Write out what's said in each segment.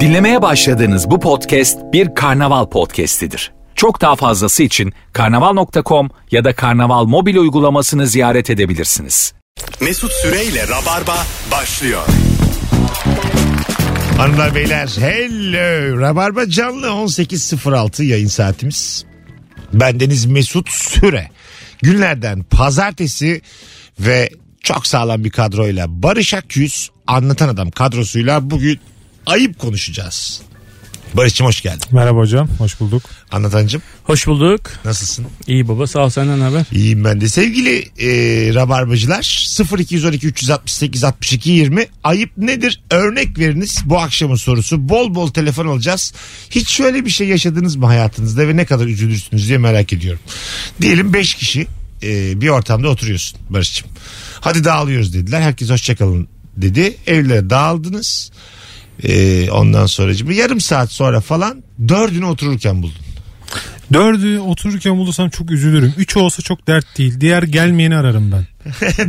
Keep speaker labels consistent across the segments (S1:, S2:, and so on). S1: Dinlemeye başladığınız bu podcast bir karnaval podcastidir. Çok daha fazlası için karnaval.com ya da karnaval mobil uygulamasını ziyaret edebilirsiniz.
S2: Mesut Süreyle Rabarba başlıyor.
S3: Hanımlar beyler hello. Rabarba canlı 18.06 yayın saatimiz. Bendeniz Mesut Süre. Günlerden pazartesi ve çok sağlam bir kadroyla Barış Akyüz anlatan adam kadrosuyla bugün ayıp konuşacağız. Barış'cığım hoş geldin.
S4: Merhaba hocam, hoş bulduk.
S3: Anlatancım
S5: Hoş bulduk.
S3: nasılsın?
S5: İyi baba sağ ol senden ne haber.
S3: İyiyim ben de. Sevgili e, rabarbacılar 0212 368 62 20 ayıp nedir? Örnek veriniz bu akşamın sorusu. Bol bol telefon alacağız. Hiç şöyle bir şey yaşadınız mı hayatınızda ve ne kadar üzülürsünüz diye merak ediyorum. Diyelim 5 kişi e, bir ortamda oturuyorsun Barış'cığım. Hadi dağılıyoruz dediler. Herkes hoşçakalın dedi. Evlere dağıldınız. E, ondan sonra yarım saat sonra falan dördünü otururken buldun.
S4: Dördü otururken bulursam çok üzülürüm. Üçü olsa çok dert değil. Diğer gelmeyeni ararım ben.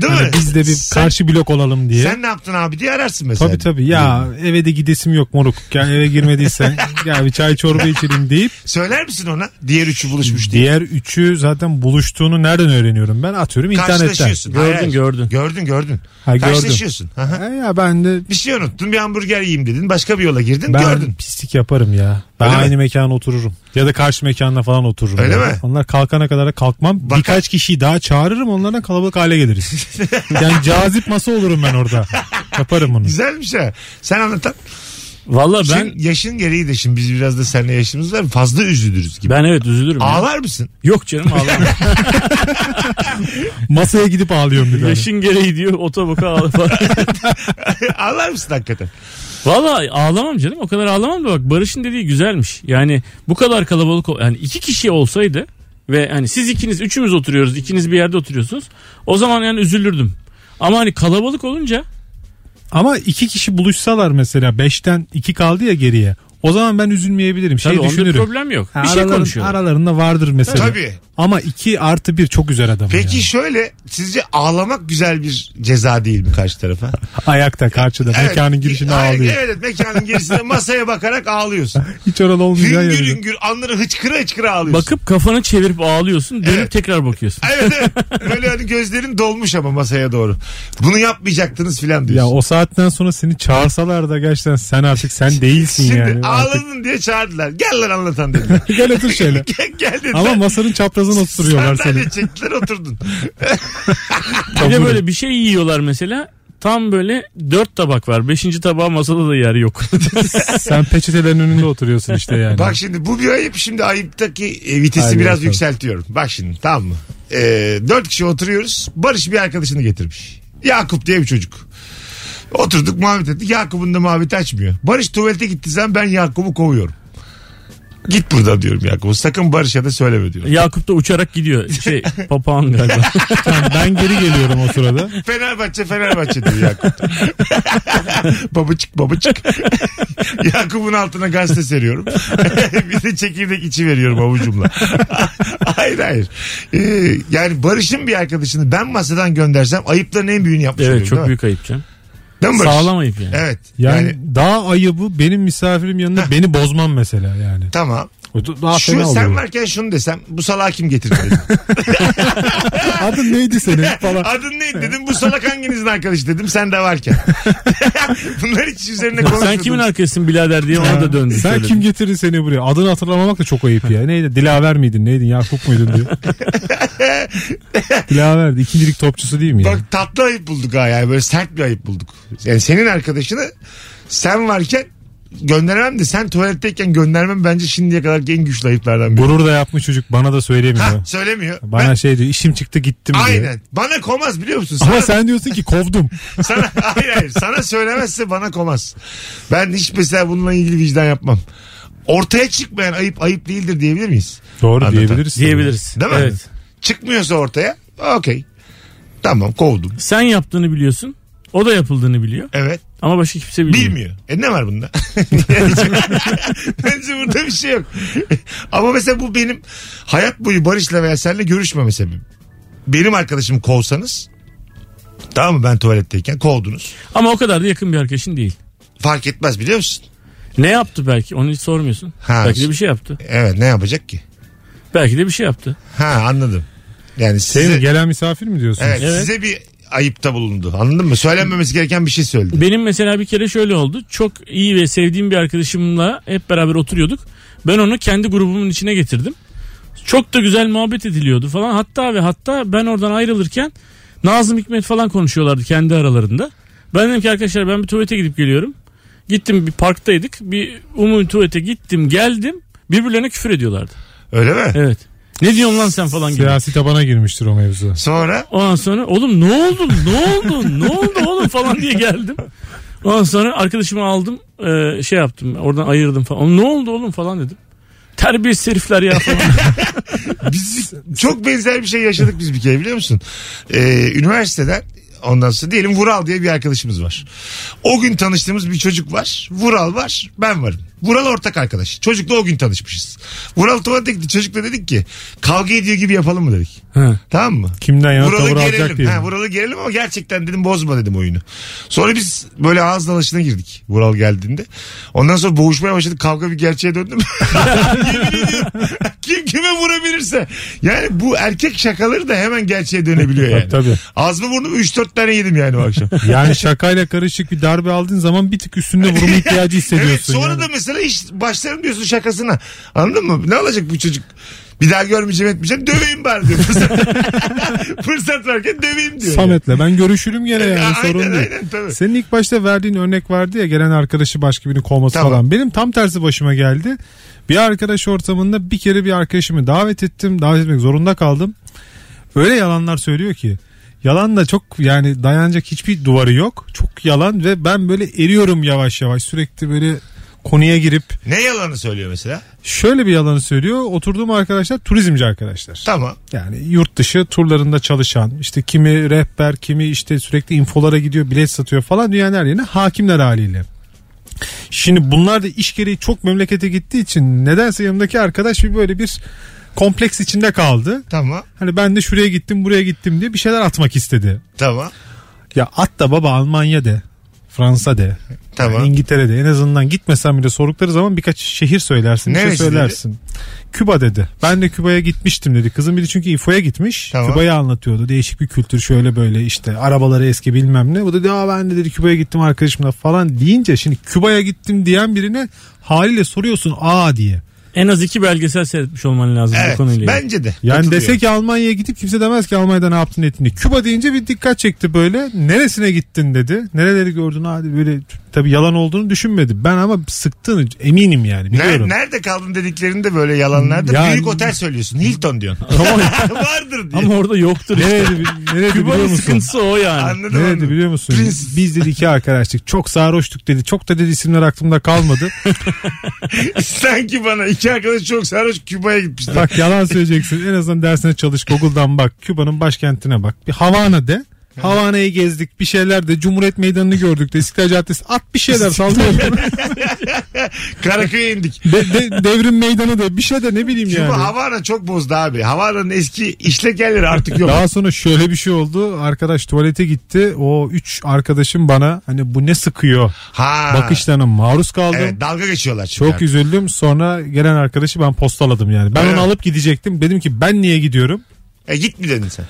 S3: Değil mi?
S4: Hani biz de bir
S3: Sen-
S4: karşı blok olalım diye.
S3: Sen ne yaptın abi diye ararsın mesela.
S4: Tabii tabii ya eve de gidesim yok moruk. Ya eve girmediysen ya bir çay çorba içelim deyip
S3: Söyler misin ona? Diğer üçü buluşmuş diye.
S4: diğer üçü zaten buluştuğunu nereden öğreniyorum ben atıyorum internetten.
S3: Karşılaşıyorsun.
S5: Gördün,
S3: Hayır, hayır.
S5: gördün.
S3: Gördün gördün.
S4: Ha, gördüm.
S3: Karşılaşıyorsun. Aha.
S4: E ya ben de
S3: Bir şey unuttun bir hamburger yiyeyim dedin. Başka bir yola girdin
S4: ben
S3: gördün.
S4: pislik yaparım ya. Ben
S3: Öyle mi?
S4: aynı mekana otururum. Ya da karşı mekana falan otururum.
S3: Öyle
S4: ya.
S3: mi?
S4: Onlar kalkana kadar da kalkmam.
S3: Baka-
S4: Birkaç kişiyi daha çağırırım onlardan kalabalık hale geliriz. yani cazip masa olurum ben orada. Yaparım bunu.
S3: Güzelmiş ha. Sen anlatan.
S5: Valla ben
S3: Senin yaşın gereği de şimdi biz biraz da seninle yaşımız var. Fazla üzülürüz gibi.
S5: ben evet üzülürüm. ya.
S3: Ağlar mısın?
S5: Yok canım ağlamam.
S4: Masaya gidip ağlıyorum bir tane.
S5: Yaşın gereği diyor otoboka ağla
S3: Ağlar mısın hakikaten?
S5: Valla ağlamam canım o kadar ağlamam da bak Barış'ın dediği güzelmiş. Yani bu kadar kalabalık ol- yani iki kişi olsaydı ve hani siz ikiniz üçümüz oturuyoruz ikiniz bir yerde oturuyorsunuz. O zaman yani üzülürdüm. Ama hani kalabalık olunca
S4: Ama iki kişi buluşsalar mesela beşten iki kaldı ya geriye. O zaman ben üzülmeyebilirim. Şey
S5: tabii onda bir
S4: düşünürüm.
S5: problem yok.
S4: Ha,
S5: bir şey
S4: araların-
S5: konuşuyorlar.
S4: Aralarında vardır mesela.
S3: Tabii.
S4: Ama iki artı bir çok üzer adam.
S3: Peki
S4: ya.
S3: şöyle sizce ağlamak güzel bir ceza değil mi karşı tarafa?
S4: Ayakta karşıda mekanın girişinde
S3: Hayır,
S4: ağlıyor.
S3: Evet mekanın girişinde masaya bakarak ağlıyorsun.
S4: Hiç oralı olmayacağı
S3: Hüngür
S4: yerde.
S3: hüngür anları hıçkıra hıçkıra ağlıyorsun.
S5: Bakıp kafanı çevirip ağlıyorsun dönüp
S3: Evet.
S5: tekrar bakıyorsun.
S3: Evet evet. Böyle hani gözlerin dolmuş ama masaya doğru. Bunu yapmayacaktınız filan
S4: Ya
S3: diyorsun.
S4: o saatten sonra seni çağırsalar da gerçekten sen artık sen değilsin
S3: Şimdi
S4: yani. Artık
S3: ağladın diye çağırdılar. Gel lan anlatan dediler.
S4: gel otur şöyle.
S3: Gel, gel dediler.
S4: Ama masanın çaprazına oturuyorlar seni.
S3: Sandalye çektiler oturdun.
S5: Bir de
S4: Tabure.
S5: böyle bir şey yiyorlar mesela. Tam böyle dört tabak var. Beşinci tabağa masada da yer yok.
S4: Sen peçetelerin önünde oturuyorsun işte yani.
S3: Bak şimdi bu bir ayıp. Şimdi ayıptaki e, vitesi
S4: Haydi
S3: biraz
S4: bakalım.
S3: yükseltiyorum. Bak şimdi tamam mı? Ee, dört kişi oturuyoruz. Barış bir arkadaşını getirmiş. Yakup diye bir çocuk. Oturduk muhabbet ettik. Yakup'un da muhabbeti açmıyor. Barış tuvalete gittiği zaman ben Yakup'u kovuyorum. Git buradan diyorum Yakup'a. Sakın Barış'a da söyleme diyorum.
S5: Yakup da uçarak gidiyor. Şey papağan galiba.
S4: Tamam, ben geri geliyorum o sırada.
S3: Fenerbahçe Fenerbahçe diyor Yakup. babacık babacık. Yakup'un altına gazete seriyorum. bir de çekirdek içi veriyorum avucumla. hayır hayır. Ee, yani Barış'ın bir arkadaşını ben masadan göndersem ayıpların en büyüğünü yapmış
S5: evet
S3: olurum,
S5: çok
S3: değil mi?
S5: büyük ayıp canım.
S3: Değil mi Barış?
S5: Sağlam ayıp yani.
S3: Evet. Yani,
S4: Yani, daha ayıbı benim misafirim yanında beni bozmam mesela yani.
S3: tamam.
S4: O da- Daha
S3: E, Şu
S4: fena
S3: sen
S4: oluyor.
S3: varken şunu desem bu salağı kim getirdi dedim.
S4: Adın neydi senin falan.
S3: Adın ne dedim bu salak hanginizin arkadaşı dedim sen de varken. Bunlar hiç üzerine konuşmadım.
S5: Sen kimin arkasısın birader diye ona da döndü.
S4: Sen
S5: söyledi.
S4: kim getirir seni buraya? Adını hatırlamamak da çok ayıp ya. Neydi? Dilaver miydin? Neydin? Yakup muydun diyor. Dilaver'di. İkincilik topçusu değil mi ya?
S3: Bak tatlı ayıp bulduk ha yani böyle sert bir ayıp bulduk. Yani senin arkadaşını sen varken gönderemem de sen tuvaletteyken göndermem bence şimdiye kadar en güçlü ayıplardan biri.
S4: Gurur da yapmış çocuk bana da söylemiyor.
S3: Ha söylemiyor.
S4: Bana
S3: Ben-
S4: şey diyor işim çıktı gittim diyor.
S3: aynen. Bana komaz biliyor musun? Sana,
S4: Ama sen diyorsun ki kovdum.
S3: sana, hayır hayır. Sana söylemezse bana komaz. Ben hiç mesela bununla ilgili vicdan yapmam. Ortaya çıkmayan ayıp ayıp değildir diyebilir miyiz?
S4: Doğru
S3: Anlatan.
S4: diyebiliriz.
S5: Diyebiliriz.
S3: Değil mi?
S5: Evet.
S3: Çıkmıyorsa ortaya okey. Tamam kovdum.
S5: Sen yaptığını biliyorsun. O da yapıldığını biliyor.
S3: Evet.
S5: Ama başka kimse bilmiyor.
S3: Bilmiyor. E ne var bunda? Bence burada bir şey yok. Ama mesela bu benim hayat boyu Barış'la veya seninle görüşmeme sebebim. Benim arkadaşımı kovsanız Tamam mı ben tuvaletteyken kovdunuz.
S5: Ama o kadar da yakın bir arkadaşın değil.
S3: fark etmez biliyor musun?
S5: Ne yaptı belki onu hiç sormuyorsun.
S3: Ha.
S5: belki de bir şey yaptı.
S3: Evet ne yapacak ki?
S5: Belki de bir şey yaptı.
S3: Ha anladım. Yani
S4: Değil mi?
S3: size,
S4: Gelen misafir mi diyorsunuz?
S3: evet,
S5: Evet.
S3: size bir ayıpta bulundu. Anladın mı? Söylenmemesi gereken bir şey söyledi.
S5: Benim mesela bir kere şöyle oldu. Çok iyi ve sevdiğim bir arkadaşımla hep beraber oturuyorduk. Ben onu kendi grubumun içine getirdim. Çok da güzel muhabbet ediliyordu falan. Hatta ve hatta ben oradan ayrılırken Nazım Hikmet falan konuşuyorlardı kendi aralarında. Ben dedim ki arkadaşlar ben bir tuvalete gidip geliyorum. Gittim bir parktaydık. Bir umumi tuvalete gittim geldim. Birbirlerine küfür ediyorlardı.
S3: Öyle mi?
S5: Evet. Ne diyorsun lan sen falan gibi.
S4: Siyasi tabana girmiştir o mevzu.
S3: Sonra
S5: Ondan sonra oğlum ne oldu ne oldu ne oldu oğlum falan diye geldim. Ondan sonra arkadaşımı aldım e, şey yaptım oradan ayırdım falan. Oğlum, ne oldu oğlum falan dedim. Terbiyesiz herifler ya falan.
S3: biz çok benzer bir şey yaşadık biz bir kere biliyor musun? Ee, üniversiteden ondan sonra diyelim Vural diye bir arkadaşımız var. O gün tanıştığımız bir çocuk var. Vural var ben varım. Vural ortak arkadaş. Çocukla o gün tanışmışız. Vural tuvalete gitti. Çocukla dedik ki kavga ediyor gibi yapalım mı dedik.
S5: Ha.
S3: Tamam mı?
S4: Kimden yana
S3: Vuralı
S4: tavır alacak
S3: gelelim.
S4: diye.
S3: Ha, Vuralı gelelim ama gerçekten dedim bozma dedim oyunu. Sonra biz böyle ağız dalaşına girdik Vural geldiğinde. Ondan sonra boğuşmaya başladık. Kavga bir gerçeğe döndü mü? Yemin ediyorum. Kim kime vurabilirse. Yani bu erkek şakaları da hemen gerçeğe dönebiliyor yani.
S4: Tabii.
S3: Ağız mı burnumu 3-4 tane yedim yani o akşam.
S4: Yani şakayla karışık bir darbe aldığın zaman bir tık üstünde vurma ihtiyacı hissediyorsun.
S3: evet sonra
S4: yani.
S3: da mesela iş başlarım diyorsun şakasına. Anladın mı? Ne olacak bu çocuk? Bir daha görmeyeceğim etmeyeceğim. Döveyim bari diyor. Fırsat, Fırsat varken döveyim diyor.
S4: Samet'le ben görüşürüm gene yani
S3: Aynen,
S4: sorun değil.
S3: aynen, tabii.
S4: Senin ilk başta verdiğin örnek vardı ya gelen arkadaşı başka birini kovması
S3: Tamam.
S4: falan. Benim tam tersi başıma geldi. Bir arkadaş ortamında bir kere bir arkadaşımı davet ettim. Davet etmek zorunda kaldım. Öyle yalanlar söylüyor ki. Yalan da çok yani dayanacak hiçbir duvarı yok. Çok yalan ve ben böyle eriyorum yavaş yavaş. Sürekli böyle konuya girip
S3: Ne yalanı söylüyor mesela?
S4: şöyle bir yalanı söylüyor. Oturduğum arkadaşlar turizmci arkadaşlar.
S3: Tamam.
S4: Yani yurt dışı turlarında çalışan işte kimi rehber kimi işte sürekli infolara gidiyor bilet satıyor falan dünyanın her yerine hakimler haliyle. Şimdi bunlar da iş gereği çok memlekete gittiği için nedense yanımdaki arkadaş bir böyle bir kompleks içinde kaldı.
S3: Tamam.
S4: Hani ben de şuraya gittim buraya gittim diye bir şeyler atmak istedi.
S3: Tamam.
S4: Ya at da baba Almanya de Fransa de
S3: Tamam.
S4: yani İngiltere'de en azından gitmesen bile sordukları zaman birkaç şehir söylersin. bir şey
S3: Neresi dedi?
S4: söylersin. Küba dedi. Ben de Küba'ya gitmiştim dedi. Kızım biri çünkü İFO'ya gitmiş.
S3: Tamam.
S4: Küba'yı anlatıyordu. Değişik bir kültür şöyle böyle işte arabaları eski bilmem ne. Bu da dedi, Aa, ben de dedi Küba'ya gittim arkadaşımla falan deyince şimdi Küba'ya gittim diyen birine haliyle soruyorsun aa diye.
S5: en az iki belgesel seyretmiş olman lazım bu
S3: Evet.
S5: konuyla. ilgili.
S3: Bence de.
S4: Yani
S3: Katılıyorum.
S4: dese ki Almanya'ya gidip kimse demez ki Almanya'da ne yaptın ettiğini. Küba deyince bir dikkat çekti böyle. Neresine gittin dedi. Nereleri gördün hadi böyle tabii yalan olduğunu düşünmedi. Ben ama sıktığını eminim yani
S3: Ner-
S4: biliyorum.
S3: nerede kaldın dediklerinde böyle yalanlarda
S4: Yani-
S3: büyük otel söylüyorsun. Hilton diyorsun. Vardır diye.
S5: Ama orada yoktur işte.
S4: Nereydi, bi- nereydi biliyor
S5: Küba'nın
S4: musun?
S5: sıkıntısı o yani.
S3: Anladım
S4: Nereydi
S3: anladım.
S4: biliyor musun?
S3: Prens.
S4: Biz dedi iki arkadaştık. Çok sarhoştuk dedi. Çok da dedi isimler aklımda kalmadı.
S3: Sanki bana iki arkadaş çok sarhoş Küba'ya gitmişler.
S4: bak yalan söyleyeceksin. En azından dersine çalış. Google'dan bak. Küba'nın başkentine bak. Bir Havana de. Havana'yı gezdik. Bir şeyler de. Cumhuriyet Meydanı'nı gördük de. İstiklal Caddesi. At bir şeyler sallıyor.
S3: Karaköy'e indik.
S4: De- de- devrim meydanı da bir şey de ne bileyim
S3: Küba
S4: yani.
S3: Havana çok bozdu abi. Havana'nın eski işlek yerleri artık yok.
S4: Daha sonra şöyle bir şey oldu. Arkadaş tuvalete gitti. O üç arkadaşım bana hani bu ne sıkıyor
S3: ha.
S4: bakışlarına maruz kaldım.
S3: Evet, dalga geçiyorlar çünkü.
S4: Çok
S3: artık.
S4: üzüldüm. Sonra gelen arkadaşı ben postaladım yani. Ben
S3: Evet.
S4: onu alıp gidecektim. Dedim ki ben niye gidiyorum?
S3: E, git mi dedin sen?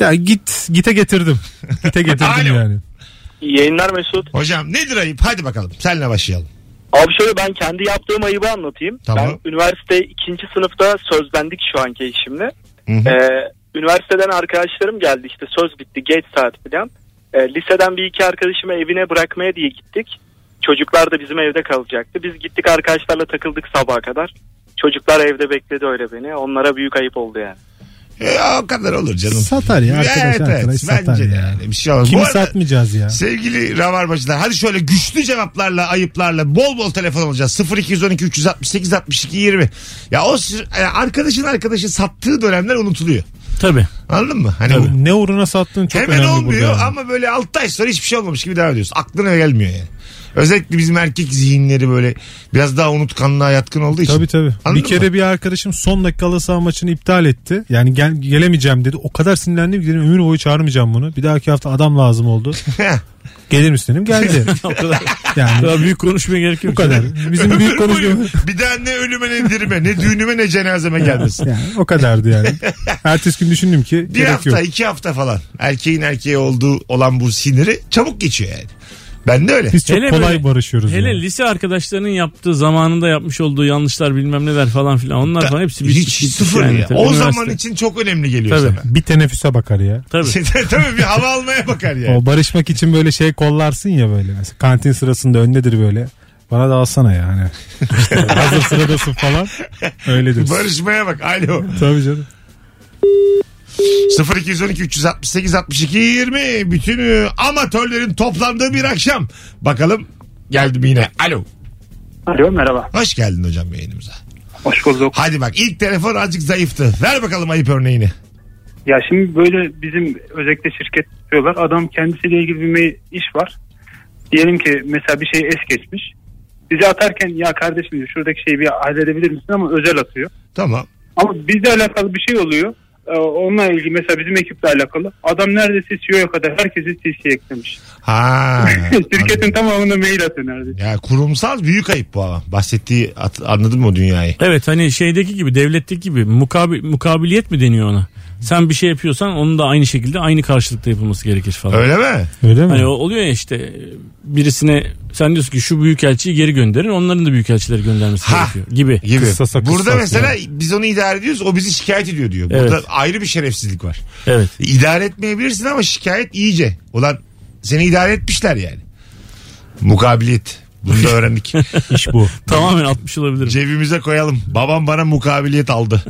S4: Ya git gite getirdim. Gite getirdim
S3: Alo.
S4: yani.
S6: İyi yayınlar Mesut.
S3: Hocam nedir ayıp? Hadi bakalım. Senle başlayalım.
S6: Abi şöyle ben kendi yaptığım ayıbı anlatayım.
S3: Tamam.
S6: Ben üniversite ikinci sınıfta sözlendik şu anki eşimle.
S3: Hı-hı.
S6: Ee, üniversiteden arkadaşlarım geldi işte söz bitti geç saat falan. Ee, liseden bir iki arkadaşımı evine bırakmaya diye gittik. Çocuklar da bizim evde kalacaktı. Biz gittik arkadaşlarla takıldık sabaha kadar. Çocuklar evde bekledi öyle beni. Onlara büyük ayıp oldu yani.
S3: E, o kadar olur canım.
S4: Satar ya arkadaş
S3: evet,
S4: arkadaş
S3: evet.
S4: satar
S3: Bence de
S4: ya.
S3: yani. Bir şey olmaz.
S4: Kimi
S3: Bu arada-
S4: satmayacağız ya.
S3: Sevgili Rabarbacılar hadi şöyle güçlü cevaplarla ayıplarla bol bol telefon alacağız. 0212 368 e, 62 20. Ya o sü- yani arkadaşın arkadaşı sattığı dönemler unutuluyor.
S5: Tabii.
S3: Anladın mı? Hani bu-
S4: Ne uğruna sattığın çok
S3: Hemen
S4: önemli
S3: olmuyor
S4: burada. yani.
S3: ama böyle 6 ay sonra hiçbir şey olmamış gibi devam ediyorsun. Aklına gelmiyor yani. Özellikle bizim erkek zihinleri böyle biraz daha unutkanlığa yatkın olduğu için.
S4: Tabii tabii.
S3: Anladın
S4: bir kere
S3: mı?
S4: bir arkadaşım son dakika halı saha maçını iptal etti. Yani gel, gelemeyeceğim dedi. O kadar sinirlendim ki dedim ömür boyu çağırmayacağım bunu. Bir dahaki hafta adam lazım oldu. Gelir misin dedim geldi.
S5: o kadar,
S4: Yani
S5: daha büyük konuşmaya gerek yok.
S4: bu kadar. Bizim büyük konuşmamız
S3: bir daha ne ölüme ne dirime ne düğünüme ne cenazeme gelmesin.
S4: yani o kadardı yani. Ertesi gün düşündüm ki
S3: Bir
S4: gerek
S3: hafta
S4: yok.
S3: iki hafta falan erkeğin erkeğe olduğu olan bu siniri çabuk geçiyor yani. Ben de öyle.
S4: Biz çok
S5: Hele
S4: kolay
S5: böyle-
S4: barışıyoruz.
S5: Hele
S4: yani.
S5: lise arkadaşlarının yaptığı zamanında yapmış olduğu yanlışlar bilmem neler falan filan onlar falan hepsi bitmiş.
S3: Hiç
S5: gitmiş
S3: sıfır
S5: yani.
S3: ya.
S5: Tabii
S3: O
S5: üniversite.
S3: zaman için çok önemli geliyor
S5: Tabii.
S3: sana.
S4: Bir teneffüse bakar ya.
S5: Tabii.
S3: Tabii bir hava almaya bakar yani.
S4: O barışmak için böyle şey kollarsın ya böyle. Mesela kantin sırasında öndedir böyle. Bana da alsana yani. İşte hazır sıradasın falan. Öyle diyorsun.
S3: Barışmaya bak. Alo.
S4: Tabii canım.
S3: 0212 368 62 20 bütün e, amatörlerin toplandığı bir akşam. Bakalım geldim yine. Alo.
S6: Alo merhaba.
S3: Hoş geldin hocam yayınımıza.
S6: Hoş bulduk.
S3: Hadi bak ilk telefon azıcık zayıftı. Ver bakalım ayıp örneğini.
S6: Ya şimdi böyle bizim özellikle şirket diyorlar. Adam kendisiyle ilgili bir me- iş var. Diyelim ki mesela bir şey es geçmiş. Bize atarken ya kardeşim diyor, şuradaki şeyi bir halledebilir misin ama özel atıyor.
S3: Tamam.
S6: Ama bizle alakalı bir şey oluyor. Ee, onunla ilgili mesela bizim ekiple alakalı. Adam neredeyse CEO'ya kadar herkesi CC'ye eklemiş.
S3: Ha.
S6: Şirketin
S3: anladım.
S6: tamamına mail atıyor neredeyse.
S3: Ya kurumsal büyük ayıp bu ama. Bahsettiği at- anladın mı o dünyayı?
S5: Evet hani şeydeki gibi devletteki gibi mukabil, mukabiliyet mi deniyor ona? Sen bir şey yapıyorsan onun da aynı şekilde aynı karşılıkta yapılması gerekir falan.
S3: Öyle mi?
S4: Öyle mi?
S5: Hani o oluyor ya işte birisine sen diyorsun ki şu büyükelçiyi geri gönderin onların da büyükelçileri göndermesi
S3: Ha.
S5: gerekiyor gibi.
S3: Gibi.
S4: Kıssasa kıssas
S3: Burada
S4: ya.
S3: mesela biz onu idare ediyoruz o bizi şikayet ediyor diyor. Burada
S5: Evet.
S3: ayrı bir şerefsizlik var.
S5: Evet.
S3: İdare etmeyebilirsin ama şikayet iyice. Ulan seni idare etmişler yani. Mukabiliyet. Bunu da öğrendik.
S4: İş bu.
S5: Tamamen atmış olabilirim.
S3: Cebimize koyalım. Babam bana mukabiliyet aldı.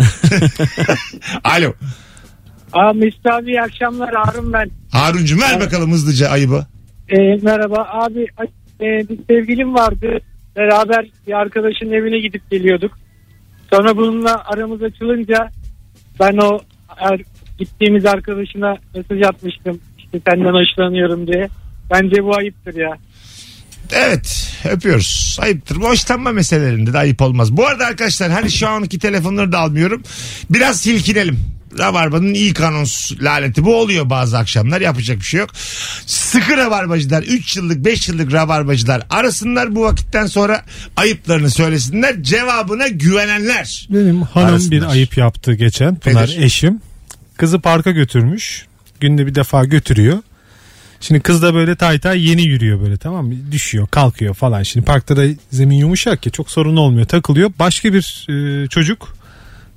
S3: Alo.
S7: Aa, Mesut abi iyi akşamlar Harun ben.
S3: Harun'cum ver bakalım hızlıca ayıbı.
S7: Ee, merhaba abi e, bir sevgilim vardı. Beraber bir arkadaşın evine gidip geliyorduk. Sonra bununla aramız açılınca ben o er, gittiğimiz arkadaşına mesaj atmıştım. İşte senden hoşlanıyorum diye. Bence bu ayıptır ya.
S3: Evet öpüyoruz. Ayıptır. Bu hoşlanma meselelerinde de ayıp olmaz. Bu arada arkadaşlar hani şu anki telefonları da almıyorum. Biraz silkinelim. Rabarba'nın ilk anons laneti bu oluyor bazı akşamlar yapacak bir şey yok. Sıkı rabarbacılar 3 yıllık 5 yıllık rabarbacılar arasınlar bu vakitten sonra ayıplarını söylesinler cevabına güvenenler.
S4: Benim hanım
S3: Arasınlar.
S4: bir ayıp yaptı geçen. Pınar
S3: Nedir?
S4: eşim. Kızı parka götürmüş. Günde bir defa götürüyor. Şimdi kız da böyle tay tay yeni yürüyor böyle tamam mı? Düşüyor kalkıyor falan. Şimdi parkta da zemin yumuşak ya çok sorun olmuyor takılıyor. Başka bir e, çocuk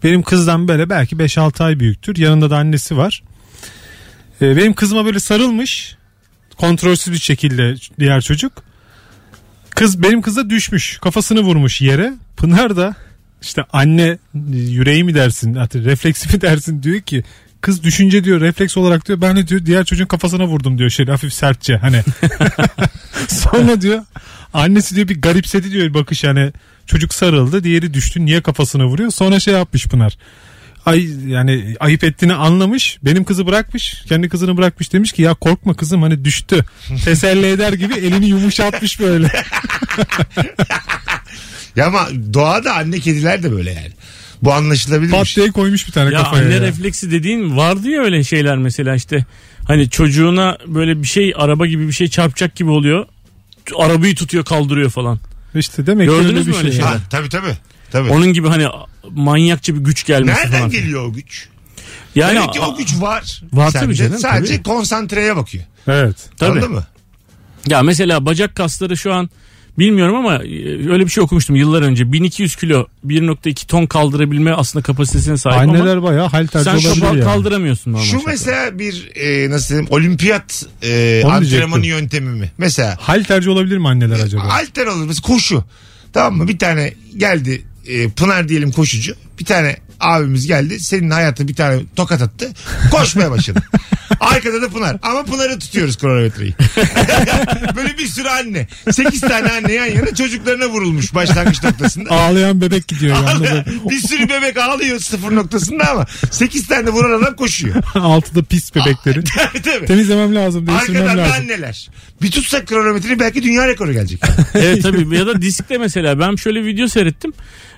S4: benim kızdan böyle belki 5-6 ay büyüktür. Yanında da annesi var. E, benim kızıma böyle sarılmış. Kontrolsüz bir şekilde diğer çocuk. Kız benim kıza düşmüş. Kafasını vurmuş yere. Pınar da işte anne yüreği mi dersin artık refleksi mi dersin diyor ki kız düşünce diyor refleks olarak diyor ben de diyor diğer çocuğun kafasına vurdum diyor şöyle hafif sertçe hani sonra diyor annesi diyor bir garipsedi diyor bir bakış hani çocuk sarıldı diğeri düştü niye kafasına vuruyor sonra şey yapmış Pınar ay yani ayıp ettiğini anlamış benim kızı bırakmış kendi kızını bırakmış demiş ki ya korkma kızım hani düştü teselli eder gibi elini yumuşatmış böyle
S3: Ya ama doğada anne kediler de böyle yani. Bu anlaşılabilir bir
S4: pat
S3: şey.
S4: diye koymuş bir tane
S5: Ya
S4: kafaya
S5: anne
S4: ya.
S5: refleksi dediğin vardı ya öyle şeyler mesela işte hani çocuğuna böyle bir şey araba gibi bir şey çarpacak gibi oluyor. Arabayı tutuyor kaldırıyor falan.
S4: İşte demek ki
S5: Gördünüz
S4: öyle
S5: mü
S4: bir
S5: öyle
S4: şey.
S5: şeyler?
S3: Ha, tabii tabii. tabii.
S5: Onun gibi hani manyakça bir güç gelmesi
S3: Nereden
S5: falan.
S3: geliyor o güç?
S5: Yani
S3: Demek Hani ki
S5: a-
S3: o güç var.
S5: Var
S3: sende.
S5: tabii canım,
S3: Sadece
S5: tabii.
S3: konsantreye bakıyor.
S4: Evet.
S5: tabii.
S3: Anladın mı?
S5: Ya mesela bacak kasları şu an bilmiyorum ama e, öyle bir şey okumuştum yıllar önce. 1200 kilo 1.2 ton kaldırabilme aslında kapasitesine sahip
S4: Anneler
S5: ama
S4: bayağı halterci
S5: sen
S4: olabilir
S5: kapağı
S4: yani.
S5: kaldıramıyorsun normal
S3: Şu
S5: şartlarda.
S3: mesela bir e, nasıl diyeyim olimpiyat e,
S4: Onu
S3: antrenmanı
S4: diyecektim.
S3: yöntemi mi? Mesela
S4: Halterci olabilir mi anneler acaba?
S3: alter olur mesela koşu. Tamam mı? Bir tane geldi e, Pınar diyelim koşucu. Bir tane abimiz geldi. Senin hayatı bir tane tokat attı. Koşmaya başladı. Arkada da Pınar. Ama Pınar'ı tutuyoruz kronometreyi. Böyle bir sürü anne. 8 tane anne yan yana çocuklarına vurulmuş başlangıç noktasında.
S4: Ağlayan bebek gidiyor yanında.
S3: bir sürü bebek ağlıyor sıfır noktasında ama 8 tane vuran adam koşuyor.
S4: Altıda pis bebekleri.
S3: Tabii, tabii.
S4: Temizlemem lazım, değiştirmem
S3: Arkadan da
S4: lazım.
S3: anneler. Bir tutsak kronometreyi belki dünya rekoru gelecek.
S5: evet tabii ya da diskte mesela ben şöyle video seyrettim.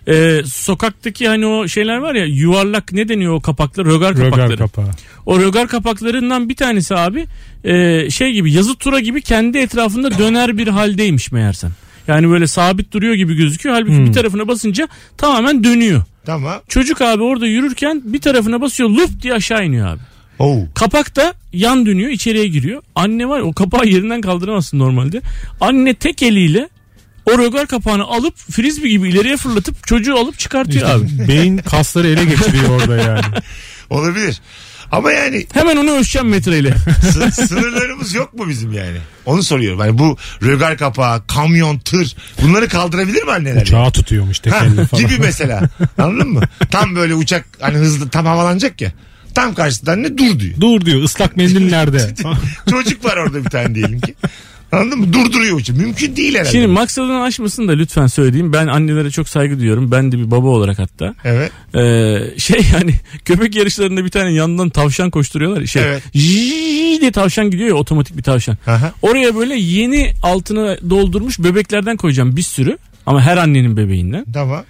S5: Ee, sokaktaki hani o şeyler var ya yuvarlak ne deniyor o kapaklar? Rögar kapakları.
S4: Rögar kapağı.
S3: Şey
S5: o rögar kapaklarından bir tanesi abi e, şey gibi yazı tura gibi kendi etrafında döner bir haldeymiş meğersem. Yani böyle sabit duruyor gibi gözüküyor. Halbuki
S4: Hmm.
S5: bir tarafına basınca tamamen dönüyor.
S3: tamam.
S5: Çocuk abi orada yürürken bir tarafına basıyor lup diye aşağı iniyor abi.
S4: Oh.
S3: Oo.
S5: Kapak da yan dönüyor içeriye giriyor. Anne var ya, o kapağı yerinden kaldıramazsın normalde. Anne tek eliyle o rögar kapağını alıp frisbee gibi ileriye fırlatıp çocuğu alıp çıkartıyor abi.
S4: Beyin kasları ele geçiriyor orada yani.
S3: Olabilir. Ama yani
S5: Hemen onu ölçeceğim metreyle.
S3: sı- sınırlarımız yok mu bizim yani? Onu soruyorum. Hani bu rögar kapağı, kamyon, tır bunları kaldırabilir mi anneler?
S4: Çağ tutuyormuş
S3: Ha,
S4: tekerle falan.
S3: gibi mesela. Anladın mı? Tam böyle uçak hani hızlı tam havalanacak ya. Tam karşısında anne dur diyor.
S4: Dur diyor ıslak mendil nerede?
S3: Çocuk var orada bir tane diyelim ki. Anladın mı? Durduruyor uçağı. Mümkün değil herhalde.
S5: Şimdi maksadını aşmasın da lütfen söyleyeyim. Ben annelere çok saygı duyuyorum. Ben de bir baba olarak hatta.
S3: Evet.
S5: Ee, şey yani köpek yarışlarında bir tane yandan tavşan koşturuyorlar. ya, Şey,
S3: Evet.
S5: "Jiii" diye tavşan gidiyor ya otomatik bir tavşan.
S3: Aha.
S5: Oraya böyle yeni altına doldurmuş bebeklerden koyacağım bir sürü. Ama her annenin bebeğinden.
S3: Tamam.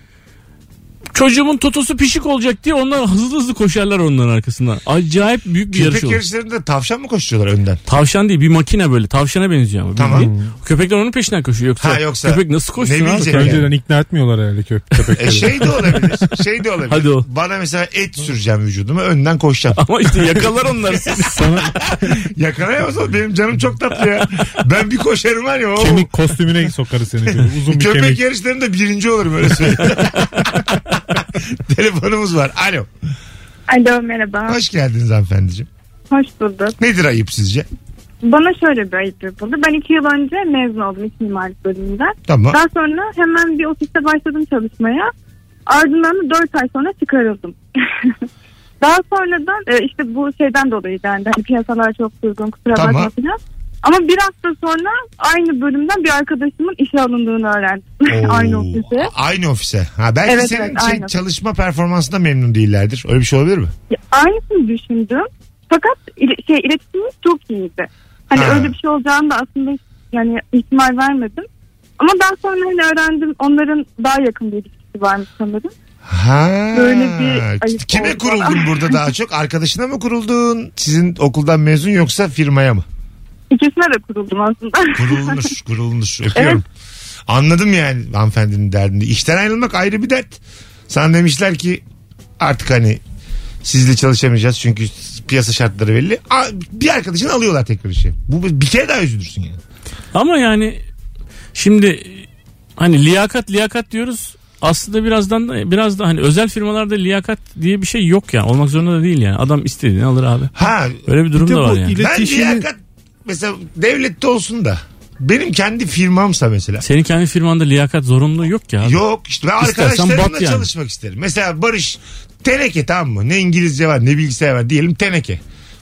S5: Çocuğumun totosu pişik olacak diye onlar hızlı hızlı koşarlar onların arkasından. Acayip büyük bir yarış
S3: Köpek
S5: olur.
S3: yarışlarında tavşan mı koşuyorlar önden? E,
S5: Tavşan değil bir makine böyle tavşana benziyor ama.
S3: Tamam.
S5: bildiğin. Köpekler onun peşinden koşuyor. Yoksa,
S3: Ha, yoksa
S5: köpek nasıl koşsun
S3: ne
S5: abi?
S3: bilecek?
S4: Önceden ikna etmiyorlar herhalde köp
S3: E
S4: köpekleri.
S3: şey de olabilir. Şey de olabilir.
S5: Hadi o.
S3: Bana mesela et süreceğim vücuduma önden koşacağım.
S5: Ama işte yakalar onları.
S3: Yakalayamaz oğlum. Benim canım çok tatlı ya. Ben bir koşarım var ya. o-
S4: kemik kostümüne sokarız seni. şöyle. Uzun bir
S3: Köpek
S4: kemik.
S3: yarışlarında birinci olurum öyle söyleyeyim. Telefonumuz var. Alo.
S8: Alo merhaba.
S3: Hoş geldiniz hanımefendiciğim.
S8: Hoş bulduk.
S3: Nedir ayıp sizce?
S8: Bana şöyle bir ayıp yapıldı. Ben iki yıl önce mezun oldum iç mimarlık bölümünden.
S3: Tamam.
S8: Daha sonra hemen bir ofiste başladım çalışmaya. Ardından da 4 ay sonra çıkarıldım. Daha sonradan e, işte bu şeyden dolayı yani hani piyasalar çok durgun kusura
S3: Tamam.
S8: bakma falan. Ama bir hafta sonra aynı bölümden bir arkadaşımın işe alındığını öğrendim.
S3: Oo.
S8: aynı ofise.
S3: Aynı ofise. Ha, belki
S8: Evet,
S3: senin
S8: evet,
S3: şey-
S8: aynı.
S3: çalışma performansında memnun değillerdir. Öyle bir şey olabilir mi?
S8: Ya, aynısını düşündüm. Fakat il- şey iletişimimiz çok iyiydi. Hani
S3: Ha.
S8: öyle bir şey olacağını da aslında hiç- yani ihtimal vermedim. Ama daha sonra hani öğrendim onların daha yakın bir ilişkisi varmış sanırım.
S3: Ha.
S8: Böyle bir ayıp
S3: Kime
S8: oldu
S3: kuruldun
S8: bana.
S3: burada daha çok? Arkadaşına mı kuruldun? Sizin okuldan mezun yoksa firmaya mı?
S8: İkisine de kuruldum aslında.
S3: Kurulmuş, kurulmuş. Öpüyorum. Anladım yani hanımefendinin derdini. İşten ayrılmak ayrı bir dert. Sana demişler ki artık hani sizle çalışamayacağız çünkü piyasa şartları belli. Aa, Bir arkadaşını alıyorlar tekrar işe. Bu bir kere daha üzülürsün yani.
S5: Ama yani şimdi hani liyakat liyakat diyoruz. Aslında birazdan da biraz da hani özel firmalarda liyakat diye bir şey yok yani. Olmak zorunda da değil yani. Adam istediğini alır abi.
S3: Ha
S5: Böyle bir durum
S4: Bir de
S5: da var
S4: bu
S5: yani.
S4: ile-
S3: ben
S4: İletişimi-
S3: liyakat mesela devlette olsun da benim kendi firmamsa mesela.
S5: Senin kendi firmanda liyakat zorunluluğu yok ya. abi.
S3: Yok işte ben
S5: İstersen
S3: arkadaşlarımla
S5: bat yani.
S3: çalışmak isterim. Mesela Barış teneke tamam mı? Ne İngilizce var ne bilgisayar var diyelim teneke.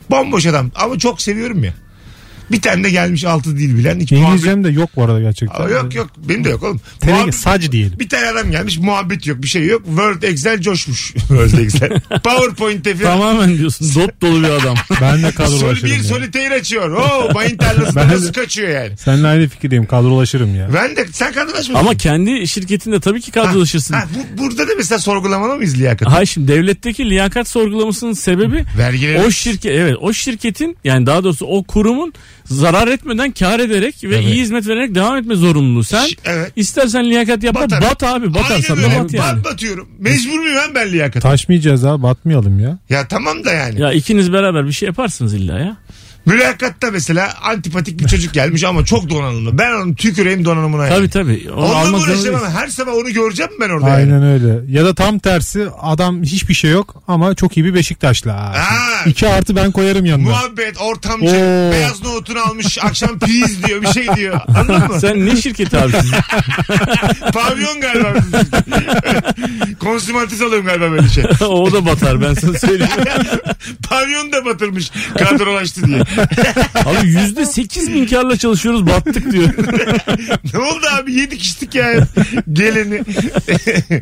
S3: Bomboş adam ama çok seviyorum ya. Bir tane de gelmiş altı dil bilen. Hiç muhabbet-
S4: İngilizcem de yok bu arada gerçekten.
S3: Aa, yok yok benim de yok oğlum.
S4: Teneke,
S3: Muhabbet-
S4: sac diyelim.
S3: bir tane adam gelmiş muhabbet yok bir şey yok. Word Excel coşmuş. Word Excel. PowerPoint'te falan.
S5: Tamamen diyorsun dop dolu bir adam.
S4: Ben de kadrolaşırım.
S3: Sol, bir
S4: ya.
S3: solitaire açıyor. Oo bayın tarlasında
S4: Ben de-
S3: nasıl kaçıyor yani.
S4: Seninle aynı fikirdeyim kadrolaşırım ya.
S3: Ben de sen kadınlaş mısın?
S5: Ama kendi şirketinde tabii ki kadrolaşırsın.
S3: Ha, bu, burada da mesela sorgulamalı mıyız liyakatı?
S5: Hayır şimdi devletteki liyakat sorgulamasının sebebi
S3: Vergileri.
S5: o şirket evet o şirketin yani daha doğrusu o kurumun zarar etmeden kar ederek ve iyi hizmet vererek devam etme zorunluluğu. Sen
S3: Ş- evet.
S5: istersen liyakat yapma
S3: Batarım.
S5: bat abi batarsan
S3: Aynen
S5: da
S3: öyle.
S5: bat yani.
S3: Ben batıyorum. Mecbur muyum ben, ben liyakata?
S4: Taşmayacağız ha batmayalım ya.
S3: Ya tamam da yani.
S5: Ya ikiniz beraber bir şey yaparsınız illa ya.
S3: Mülakatta mesela antipatik bir çocuk gelmiş ama çok donanımlı. Ben onun tüküreyim donanımına.
S5: Tabii
S3: yani.
S5: tabii. Onu
S3: Onunla mı
S5: almak
S3: uğraşamam.
S5: zorundayız.
S3: Her sabah onu göreceğim ben orada. yani.
S4: Aynen öyle. Ya da tam tersi adam hiçbir şey yok ama çok iyi bir Beşiktaşlı. Ha.
S3: Ha.
S4: İki artı ben koyarım yanına.
S3: Muhabbet, ortamcı,
S4: Oo.
S3: beyaz nohutunu almış, akşam piyiz diyor, bir şey diyor. Anladın mı?
S5: Sen ne şirketi abi?
S3: Pavyon galiba. Konsumantiz alıyorum galiba böyle şey.
S5: o da batar ben sana söyleyeyim.
S3: Pavyon da batırmış kadrolaştı diye.
S5: Abi yüzde sekiz bin karla çalışıyoruz battık diyor.
S3: ne oldu abi? Yedi kişilik ya geleni.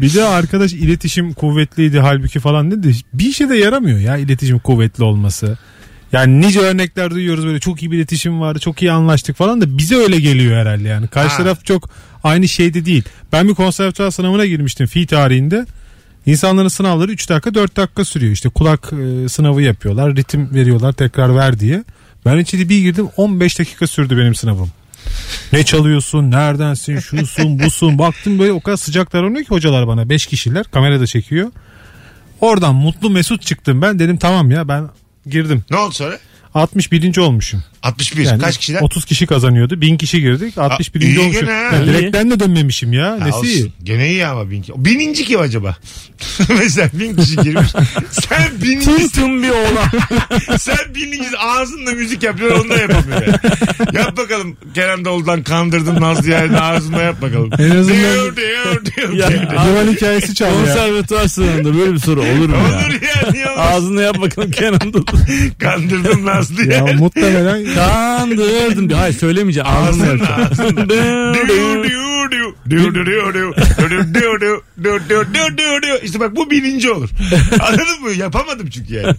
S4: Bir de arkadaş iletişim kuvvetliydi halbuki falan dedi. Bir işe de yaramıyor ya iletişim kuvvetli olması. Yani nice örnekler duyuyoruz böyle çok iyi bir iletişim vardı çok iyi anlaştık falan da bize öyle geliyor herhalde yani. Karşı
S3: Ha.
S4: taraf çok aynı şeyde değil. Ben bir konservatuar sınavına girmiştim fi tarihinde. İnsanların sınavları 3 dakika 4 dakika sürüyor. İşte kulak e, sınavı yapıyorlar ritim veriyorlar tekrar ver diye. Ben içeri bir girdim 15 dakika sürdü benim sınavım. Ne çalıyorsun, neredensin, şusun, busun. Baktım böyle o kadar sıcak davranıyor ki hocalar bana. Beş kişiler kamerada çekiyor. Oradan mutlu mesut çıktım ben. Dedim tamam ya ben girdim.
S3: ne oldu sonra?
S4: 61. olmuşum.
S3: 61.
S4: Yani
S3: Kaç kişiden?
S4: 30 kişi kazanıyordu. 1000 kişi girdik. 61.
S3: iyi
S4: olmuşum.
S3: gene ha.
S4: Yani direkten de dönmemişim ya.
S3: Ha,
S4: Nesi iyi?
S3: olsun. Gene iyi ama bin kişi. Bininci kim acaba? Mesela bin kişi girmiş. Sen bininci,
S5: Tüm tüm bir oğlan.
S3: sen bininci ağzınla müzik yapıyor onu da yapamıyor. yani. Yap bakalım Kerem Doğulu'dan kandırdım Nazlı yani ağzınla yap bakalım.
S4: En azından-
S3: Diyor diyor diyor.
S5: Ya,
S3: diyor.
S4: Duvar hikayesi çal ya.
S5: Konservatuar sınavında böyle bir soru olur mu ya?
S3: Olur yani ya.
S5: Ağzını yap bakalım Kenan'da.
S3: Kandırdım Nazlı
S4: Ya
S3: yani.
S4: muhtemelen
S5: Kandırdım diyor. Hayır söylemeyeceğim. Ağzını yap.
S3: Diyor, diyor, diyor. Diyor, diyor, diyor, diyor. Diyor, diyor, diyor, diyor. Diyor, diyor, diyor, diyor, diyor. İşte bak bu birinci olur. Anladın mı? Yapamadım çünkü yani.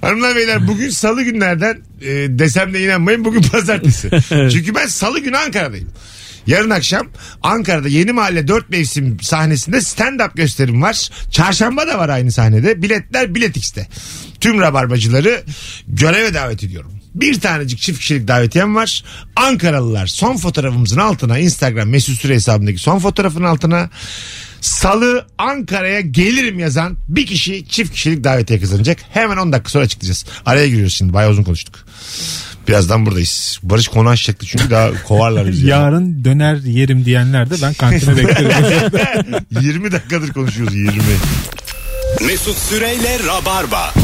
S3: Hanımlar beyler bugün salı günlerden e, desem de inanmayın bugün pazartesi. Çünkü ben salı günü Ankara'dayım. Yarın akşam Ankara'da Yeni Mahalle 4 Mevsim sahnesinde stand-up gösterim var. Çarşamba da var aynı sahnede. Biletler Bilet X'te. Tüm rabarbacıları göreve davet ediyorum. Bir tanecik çift kişilik davetiyem var. Ankaralılar son fotoğrafımızın altına Instagram mesut süre hesabındaki son fotoğrafın altına Salı Ankara'ya gelirim yazan bir kişi çift kişilik davetiye kazanacak. Hemen 10 dakika sonra açıklayacağız. Araya giriyoruz şimdi. Bayağı uzun konuştuk. Birazdan buradayız. Barış konu açacaktı çünkü daha kovarlar bizi.
S4: yarın döner yerim diyenler de ben kantine beklerim.
S3: 20 dakikadır konuşuyoruz 20.
S2: Mesut Süreyle Rabarba.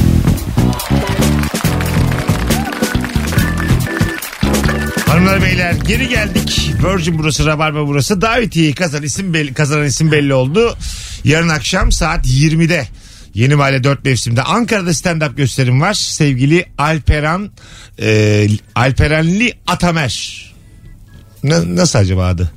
S3: Hanımlar beyler geri geldik. Virgin burası, Rabarba burası. Davetiyeyi kazan isim belli, kazanan isim belli oldu. Yarın akşam saat 20'de Yeni Mahalle 4 mevsimde Ankara'da stand-up gösterim var. Sevgili Alperan e, Alperenli Atamer. Na- nasıl acaba adı?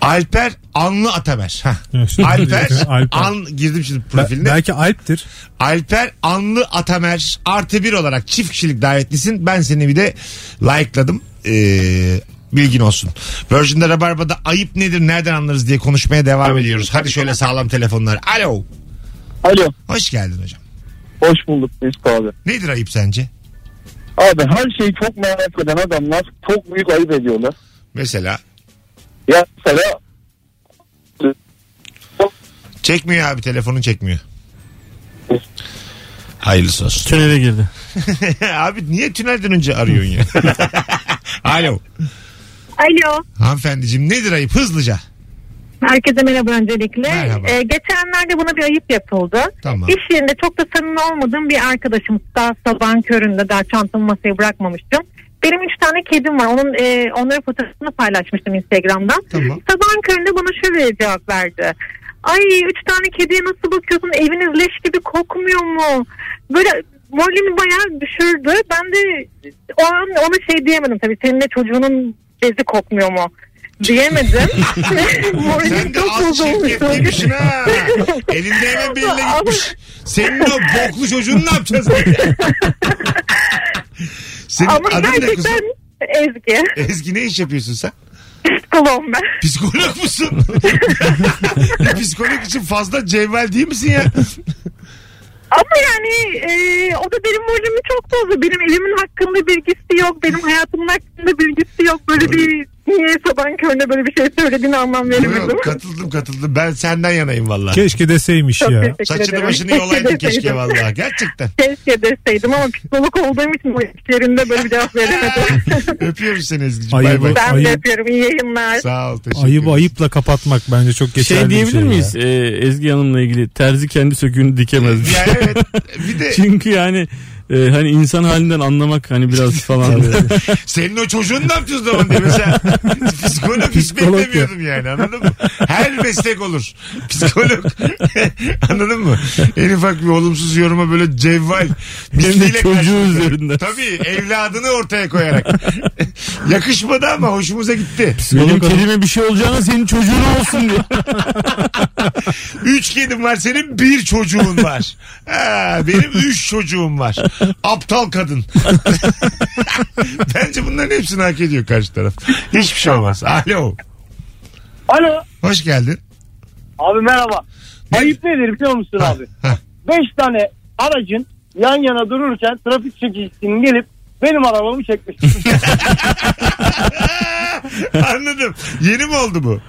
S3: Alper Anlı Atamer. Hah.
S4: Şöyle
S3: Alper,
S4: bir- Alper.
S3: An girdim şimdi profiline.
S4: Belki Alp'tir.
S3: Alper Anlı Atamer artı bir olarak çift kişilik davetlisin. Ben seni bir de like'ladım. Ee, bilgin olsun. Virgin'de Rabarba'da ayıp nedir nereden anlarız diye konuşmaya devam ediyoruz. Hadi şöyle sağlam telefonlar. Alo.
S9: Alo.
S3: Hoş geldin hocam.
S9: Hoş bulduk Mesut abi.
S3: Nedir ayıp sence?
S9: Abi her şeyi çok merak eden adamlar çok büyük ayıp ediyorlar.
S3: Mesela
S9: Ya mesela
S3: çekmiyor abi telefonun çekmiyor. Hayırlısı olsun.
S5: Tünele girdi.
S3: abi niye tünelden önce arıyorsun ya? Alo.
S8: Alo.
S3: Hanımefendiciğim nedir ayıp hızlıca?
S8: Herkese merhaba öncelikle.
S3: Merhaba.
S8: Ee, geçenlerde buna bir ayıp yapıldı.
S3: Tamam.
S8: İş yerinde çok da samimi olmadığım bir arkadaşım daha sabahın köründe daha çantamı masaya bırakmamıştım. Benim üç tane kedim var. Onun e, onların fotoğrafını paylaşmıştım Instagram'dan.
S3: Tamam.
S8: Sabahın köründe bana şöyle cevap verdi. Ay üç tane kediye nasıl bakıyorsun? Eviniz leş gibi kokmuyor mu? Böyle moralimi bayağı düşürdü. Ben de o an ona şey diyemedim tabii. Senin de çocuğunun bezi kokmuyor mu? Diyemedim.
S3: Sen
S8: Moralim
S3: de
S8: çok
S3: az
S8: bozulmuştu.
S3: çirketliymişsin ha. Elinde hemen beline gitmiş. Senin o boklu çocuğunu ne yapacağız? Senin
S8: Ama
S3: adın ne kızım?
S8: gerçekten Ezgi.
S3: Ezgi ne iş yapıyorsun sen?
S8: Psikoloğum ben.
S3: Psikolog musun? Ya Psikolog için fazla cevval değil misin ya?
S8: Ama yani e, o da benim moralimi çok bozdu. Benim evimin hakkında bilgisi yok. Benim hayatımın hakkında bilgisi yok. Böyle bir niye sabahın körüne böyle bir şey söylediğini anlam
S3: Yok,
S8: veremedim.
S3: yok, katıldım katıldım. Ben senden yanayım valla.
S4: Keşke deseymiş
S8: Çok
S4: ya.
S8: teşekkür
S3: Saçını
S8: ederim.
S3: başını yolaydın keşke
S8: deseydim.
S3: valla. Gerçekten.
S8: Keşke deseydim ama psikolog olduğum için bu işlerinde böyle bir cevap veremedim.
S3: Öpüyoruz seni Ezgi'ciğim.
S4: Ayıbı-
S3: Bay bay.
S8: ben
S4: Ayıp.
S8: de yapıyorum iyi yayınlar.
S3: Sağ ol teşekkür
S4: Ayıp
S3: ederim.
S4: ayıpla kapatmak bence çok geçerli
S5: Şey
S4: bir
S5: diyebilir
S4: ya.
S5: miyiz Ee, Ezgi Hanım'la ilgili terzi kendi söküğünü dikemezmiş.
S3: Yani evet. Bir de
S5: Çünkü yani e, hani insan halinden anlamak hani biraz falan.
S3: senin o çocuğun ne yapacağız o zaman diye mesela psikolog hiç
S4: Psikolog ya.
S3: beklemiyordum yani anladın mı? Her meslek olur. Psikolog. anladın mı? En ufak bir olumsuz yoruma böyle cevval. misliyle
S5: çocuğu
S3: karşılık verir.
S5: üzerinden.
S3: Tabii evladını ortaya koyarak. Yakışmadı ama hoşumuza gitti.
S5: Benim kelime bir şey olacağına senin çocuğun olsun diye.
S3: Üç kedim var senin bir çocuğun var. Ha, benim üç çocuğum var. Aptal kadın. Bence bunların hepsini hak ediyor karşı taraf. Hiçbir şey olmaz. Alo.
S7: Alo
S3: Hoş geldin.
S7: abi merhaba. Ayıp nedir biliyor musun abi?
S3: Heh.
S7: Beş tane aracın yan yana dururken trafik çekicisinin gelip benim arabamı çekmiş.
S3: Anladım. Yeni mi oldu bu?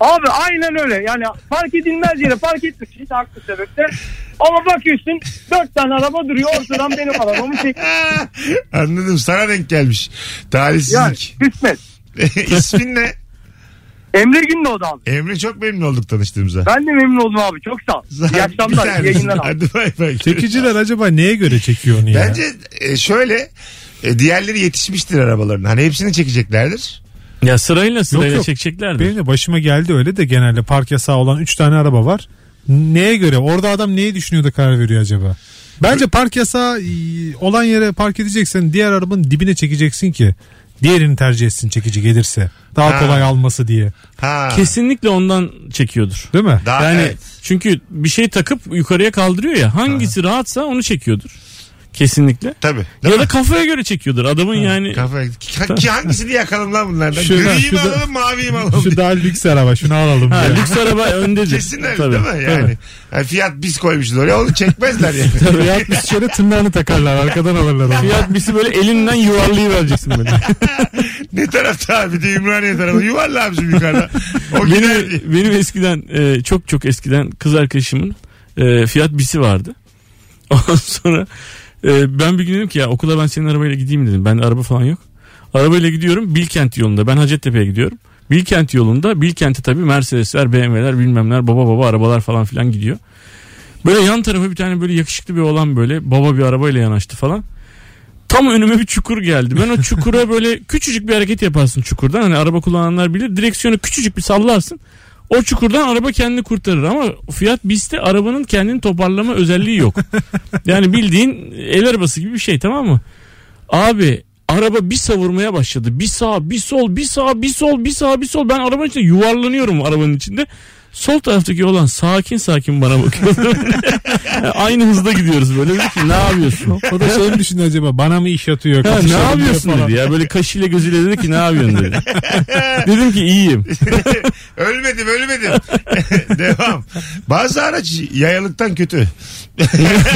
S7: Abi aynen öyle. Yani fark edilmez yere fark etmiş. Hiç haklı sebepler. Ama bakıyorsun dört tane araba duruyor. Ortadan benim arabamı çekmiş.
S3: Ha, Anladım. Sana denk gelmiş.
S7: Yani
S3: Talihsizlik.
S7: kısmet.
S3: İsmin ne?
S7: Emre Gündoğdu abi.
S3: Emre çok memnun olduk tanıştığımıza.
S7: Ben de memnun oldum abi. Çok sağ ol. İyi
S3: Bir
S7: akşamlar.
S3: tanesi.
S7: iyi yayınlar abi.
S3: Hadi bay bay.
S4: Çekiciler acaba neye göre çekiyor onu ya?
S3: Bence e, şöyle e, diğerleri yetişmiştir arabalarına. Hani hepsini çekeceklerdir.
S5: ya sırayla sırayla
S4: Yok, yok.
S5: çekeceklerdi.
S4: Benim de başıma geldi öyle de genelde park yasağı olan 3 tane araba var. Neye göre? Orada adam neyi düşünüyor da karar veriyor acaba? Bence park yasağı e, olan yere park edeceksen diğer arabanın dibine çekeceksin ki diğerini tercih etsin çekici gelirse. Daha
S3: Ha.
S4: kolay alması diye.
S3: Ha.
S5: Kesinlikle ondan çekiyordur.
S4: Değil mi?
S3: Daha,
S5: yani
S3: evet.
S5: Hani çünkü bir şey takıp yukarıya kaldırıyor ya hangisi rahatsa onu çekiyordur. Kesinlikle.
S3: Tabii.
S5: ya
S3: Değil mi?
S5: da kafaya göre çekiyordur adamın yani.
S3: Kafaya- Ki- ki hangisini yakalım lan bunlardan?
S4: Şu-
S3: Griyi mi
S4: şu da-
S3: alalım maviyi mi alalım?
S4: Şu daha lüks araba şunu alalım.
S5: Ha,
S4: diye.
S5: lüks araba öndedir.
S3: Kesin öyle değil mi? Yani, yani fiyat biz koymuşuz oraya onu çekmezler yani.
S4: Tabii yatmış şöyle tırnağını takarlar arkadan alırlar onu.
S5: Fiyat birisi böyle elinden yuvarlayıvereceksin böyle.
S3: ne tarafta abi de Ümraniye tarafı yuvarla abicim yukarıda. O gider diye.
S5: benim, benim eskiden e, çok çok eskiden kız arkadaşımın e, Fiat Bisi vardı. Ondan sonra e, ben bir gün dedim ki ya okula ben senin arabayla gideyim dedim. Bende araba falan yok. Arabayla gidiyorum Bilkent yolunda. Ben Hacettepe'ye gidiyorum. Bilkent yolunda Bilkent'e tabii Mercedesler, BMW'ler bilmem neler baba baba arabalar falan filan gidiyor. Böyle yan tarafa bir tane böyle yakışıklı bir olan böyle baba bir arabayla yanaştı falan. Tam önüme bir çukur geldi. Ben o çukura böyle küçücük bir hareket yaparsın çukurdan. Hani araba kullananlar bilir. Direksiyonu küçücük bir sallarsın. O çukurdan araba kendini kurtarır ama Fiat Bis'te arabanın kendini toparlama özelliği yok. Yani bildiğin el arabası gibi bir şey tamam mı? Abi araba bir savurmaya başladı. Bir sağ, bir sol, bir sağ, bir sol, bir sağ, bir sol. Ben arabanın içinde yuvarlanıyorum arabanın içinde. Sol taraftaki olan sakin sakin bana bakıyor. Aynı hızda gidiyoruz böyle. Dedi ki ne yapıyorsun?
S4: O da şey mi düşündü acaba bana mı iş atıyor?
S5: Ha, ne
S4: kapışalım diye
S5: yapıyorsun
S4: falan.
S5: dedi ya. Böyle kaşıyla gözüyle dedi ki ne yapıyorsun dedi. Dedim ki iyiyim.
S3: ölmedim ölmedim. Devam. Bazı araç yayalıktan kötü.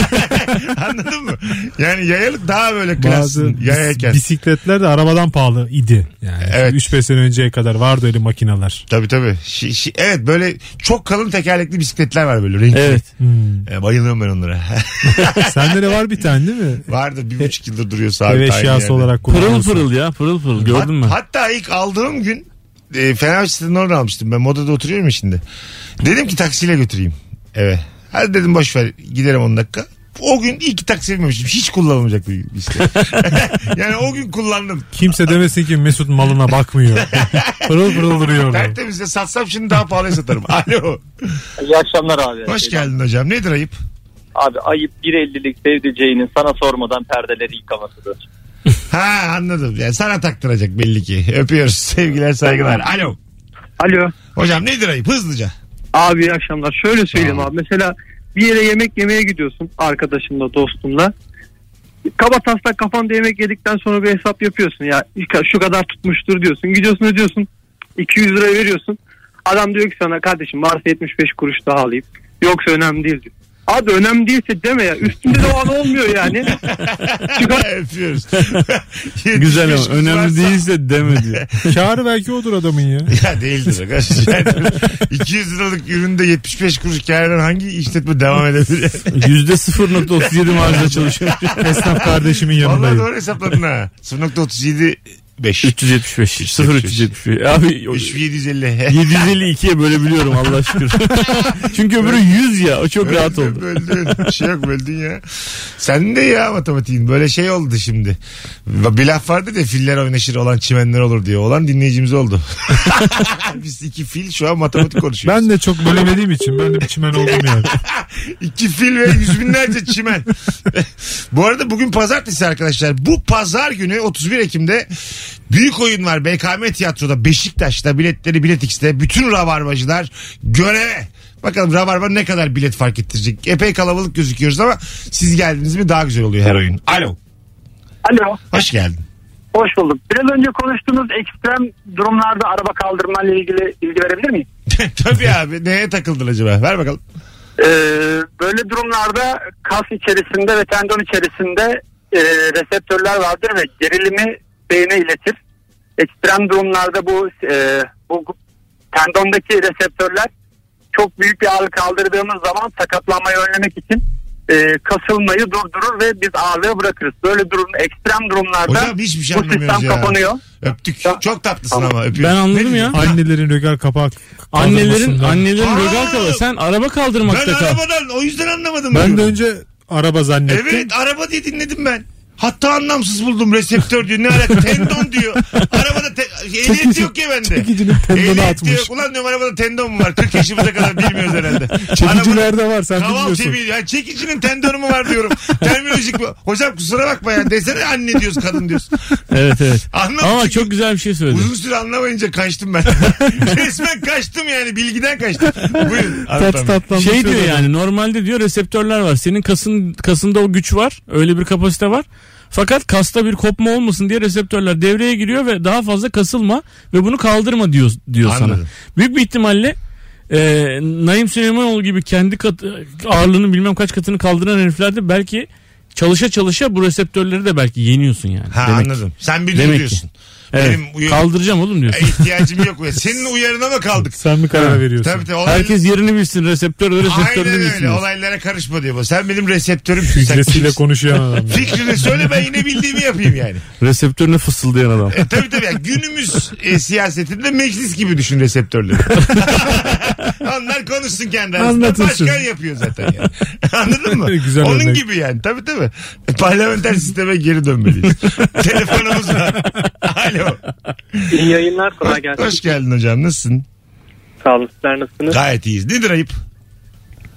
S3: Anladın mı? Yani yayalık daha böyle klas
S4: Bazı
S3: yayayken.
S4: bis- bisikletler de arabadan pahalı idi. Yani
S3: Evet.
S4: 3-5 sene önceye kadar vardı öyle makineler.
S3: Tabii tabii. Şi- şi- evet böyle çok kalın tekerlekli bisikletler var böyle renkli.
S5: Evet.
S3: E, bayılıyorum ben onlara.
S4: Sende de var bir tane değil mi?
S3: Vardı bir buçuk yıldır duruyor sabit.
S4: Ev
S3: aynı
S4: eşyası
S3: yerde.
S4: olarak
S5: Pırıl
S4: kullanıyorsun.
S5: pırıl ya pırıl pırıl gördün mü?
S3: Hat- Hatta ilk aldığım gün e, Fenerbahçe Stadı'nın oradan almıştım. Ben modada oturuyorum ya şimdi. Dedim ki taksiyle götüreyim eve. Hadi dedim boş ver giderim 10 dakika. O gün iki taksi binmemiştim. Hiç kullanılmayacak bir işte. yani o gün kullandım.
S4: Kimse demesin ki Mesut malına bakmıyor. pırıl pırıl duruyor orada.
S3: Tertemizle satsam şimdi daha pahalıya satarım. Alo.
S10: İyi akşamlar abi.
S3: Hoş geldin hocam. Nedir ayıp?
S10: Abi ayıp 1.50'lik sevdiceğinin sana sormadan perdeleri yıkamasıdır.
S3: Ha anladım. Yani sana taktıracak belli ki. Öpüyoruz. Sevgiler saygılar. Alo.
S7: Alo.
S3: Hocam nedir ayıp? Hızlıca.
S7: Abi iyi akşamlar. Şöyle söyleyeyim abi. Mesela bir yere yemek yemeye gidiyorsun arkadaşınla, dostunla. Kaba taslak kafanda yemek yedikten sonra bir hesap yapıyorsun. Ya şu kadar tutmuştur diyorsun. Gidiyorsun ödüyorsun. 200 lira veriyorsun. Adam diyor ki sana kardeşim varsa 75 kuruş daha alayım. Yoksa önemli değil diyor.
S9: Abi önemli değilse deme ya. Üstünde de o an olmuyor yani.
S3: Öpüyoruz.
S5: Güzel ama
S3: 75 varsa-
S5: önemli değilse demedi.
S4: Kârı belki odur adamın ya.
S3: Ya değildir. arkadaş. Yani 200 liralık üründe 75 kuruş kârdan hangi işletme devam edebilir?
S5: %0.37 marjda çalışıyor.
S4: Esnaf kardeşimin
S3: Vallahi
S4: yanındayım.
S3: doğru hesapladın ha. 0.37 5.
S5: 375. 0375. Abi o-
S3: 3750.
S5: 752'ye bölebiliyorum Allah şükür. Çünkü öbürü 100 ya. O çok rahat oldu.
S3: Böldün. Bir şey yok böldün ya. Sen de ya matematiğin. Böyle şey oldu şimdi. Bir laf vardı ya filler oynaşır olan çimenler olur diye. Olan dinleyicimiz oldu. Biz iki fil şu an matematik konuşuyoruz.
S4: Ben de çok bölemediğim için ben de bir çimen oldum yani.
S3: İki fil ve yüz binlerce çimen. Bu arada bugün pazartesi arkadaşlar. Bu pazar günü 31 Ekim'de büyük oyun var. BKM Tiyatro'da Beşiktaş'ta biletleri Bilet X'te. Bütün rabarbacılar göreve. Bakalım Rabarba ne kadar bilet fark ettirecek. Epey kalabalık gözüküyoruz ama siz geldiniz mi daha güzel oluyor her oyun. Alo.
S9: Alo.
S3: Hoş geldin.
S9: Hoş bulduk. Biraz önce konuştuğunuz ekstrem durumlarda araba kaldırmayla ilgili bilgi verebilir miyim?
S3: Tabii abi. Neye takıldın acaba? Ver bakalım.
S9: Ee, böyle durumlarda kas içerisinde ve tendon içerisinde e, reseptörler vardır ve gerilimi beyne iletir. Ekstrem durumlarda bu e, bu tendondaki reseptörler çok büyük bir ağırlık kaldırdığımız zaman sakatlanmayı önlemek için e, kasılmayı durdurur ve biz ağırlığı bırakırız. Böyle durum ekstrem durumlarda
S3: Hocam hiçbir şey
S9: bu sistem
S3: anlamıyoruz ya.
S9: kapanıyor.
S3: Öptük.
S9: Ya-
S3: Çok tatlısın
S9: Tamam.
S3: ama. Öpüyoruz.
S5: Ben anladım
S3: Ne-
S5: ya.
S4: Annelerin rögar kapak
S5: Annelerin
S4: kaldırmasından.
S5: annelerin
S3: Aa!
S5: rögal kala. Sen araba
S3: Ben
S5: kaldırmakta kal.
S3: arabadan o yüzden anlamadım.
S4: Ben
S3: diyorum.
S4: de önce araba zannettim.
S3: Evet araba diye dinledim ben. Hatta anlamsız buldum reseptör diyor. Ne alaka tendon diyor. Arabada te- ehliyet
S4: Çekici-
S3: yok ya bende.
S4: çekicinin tendonu
S3: Ehliyet de
S4: atmış.
S3: Yok. Ulan diyorum arabada tendon mu var? 40 yaşımıza kadar bilmiyoruz herhalde. Arabada-
S4: Çekicilerde var sen
S3: Kaval
S4: bilmiyorsun.
S3: çeviriyor. Yani çekicinin tendonu mu var diyorum. Terminolojik bu. Hocam kusura bakma ya. Desene anne diyoruz kadın diyoruz.
S5: Evet evet.
S3: Anlamadım.
S5: Ama
S3: çünkü
S5: çok güzel bir şey söyledin.
S3: Uzun süre anlamayınca kaçtım ben. Resmen kaçtım yani. Bilgiden kaçtım. Buyurun. Arap
S4: Tat
S3: abi.
S4: tatlandı.
S5: Şey diyor yani normalde diyor reseptörler var. Senin kasın kasında o güç var. Öyle bir kapasite var. Fakat kasta bir kopma olmasın diye reseptörler devreye giriyor ve daha fazla kasılma ve bunu kaldırma diyor diyor sana.
S3: Anladım.
S5: Büyük bir ihtimalle e, Naim Süleymanoğlu gibi kendi kat, ağırlığının bilmem kaç katını kaldıran heriflerde belki çalışa çalışa bu reseptörleri de belki yeniyorsun yani.
S3: Ha
S5: Demek ki.
S3: anladım. Sen bir
S5: Demek ki.
S3: diyorsun.
S5: Evet.
S3: Benim uyarı-
S5: Kaldıracağım oğlum diyorsun.
S3: ihtiyacım yok. Senin uyarına mı kaldık?
S4: Sen mi karar veriyorsun?
S3: Tabii tabii. Olay...
S5: Herkes yerini bilsin reseptörleri
S3: Aynen
S5: reseptörleri
S3: öyle.
S5: bilsin. diyorsun.
S3: Olaylara karışma diyor. bu. Sen benim reseptörümsün. Sen
S4: Filtresiyle konuşuyan adam. ya.
S3: Fikrini söyle ben yine bildiğimi yapayım yani.
S5: Reseptörüne fısıldayan adam.
S3: E, tabii tabii. Yani günümüz e, siyasetinde meclis gibi düşün reseptörleri. Onlar konuşsun kendi arasında.
S4: Anlatılsın.
S3: Başkan yapıyor zaten yani. Anladın mı?
S4: Güzel
S3: Onun
S4: örnek.
S3: gibi yani. Tabii tabii. E, parlamenter sisteme geri dönmeliyiz. Telefonumuz var. Alo.
S6: İyi yayınlar kolay gelsin.
S3: Hoş geldin hocam. Nasılsın?
S6: Sağ olun sizler nasılsınız?
S3: Gayet iyiyiz. Nedir ayıp?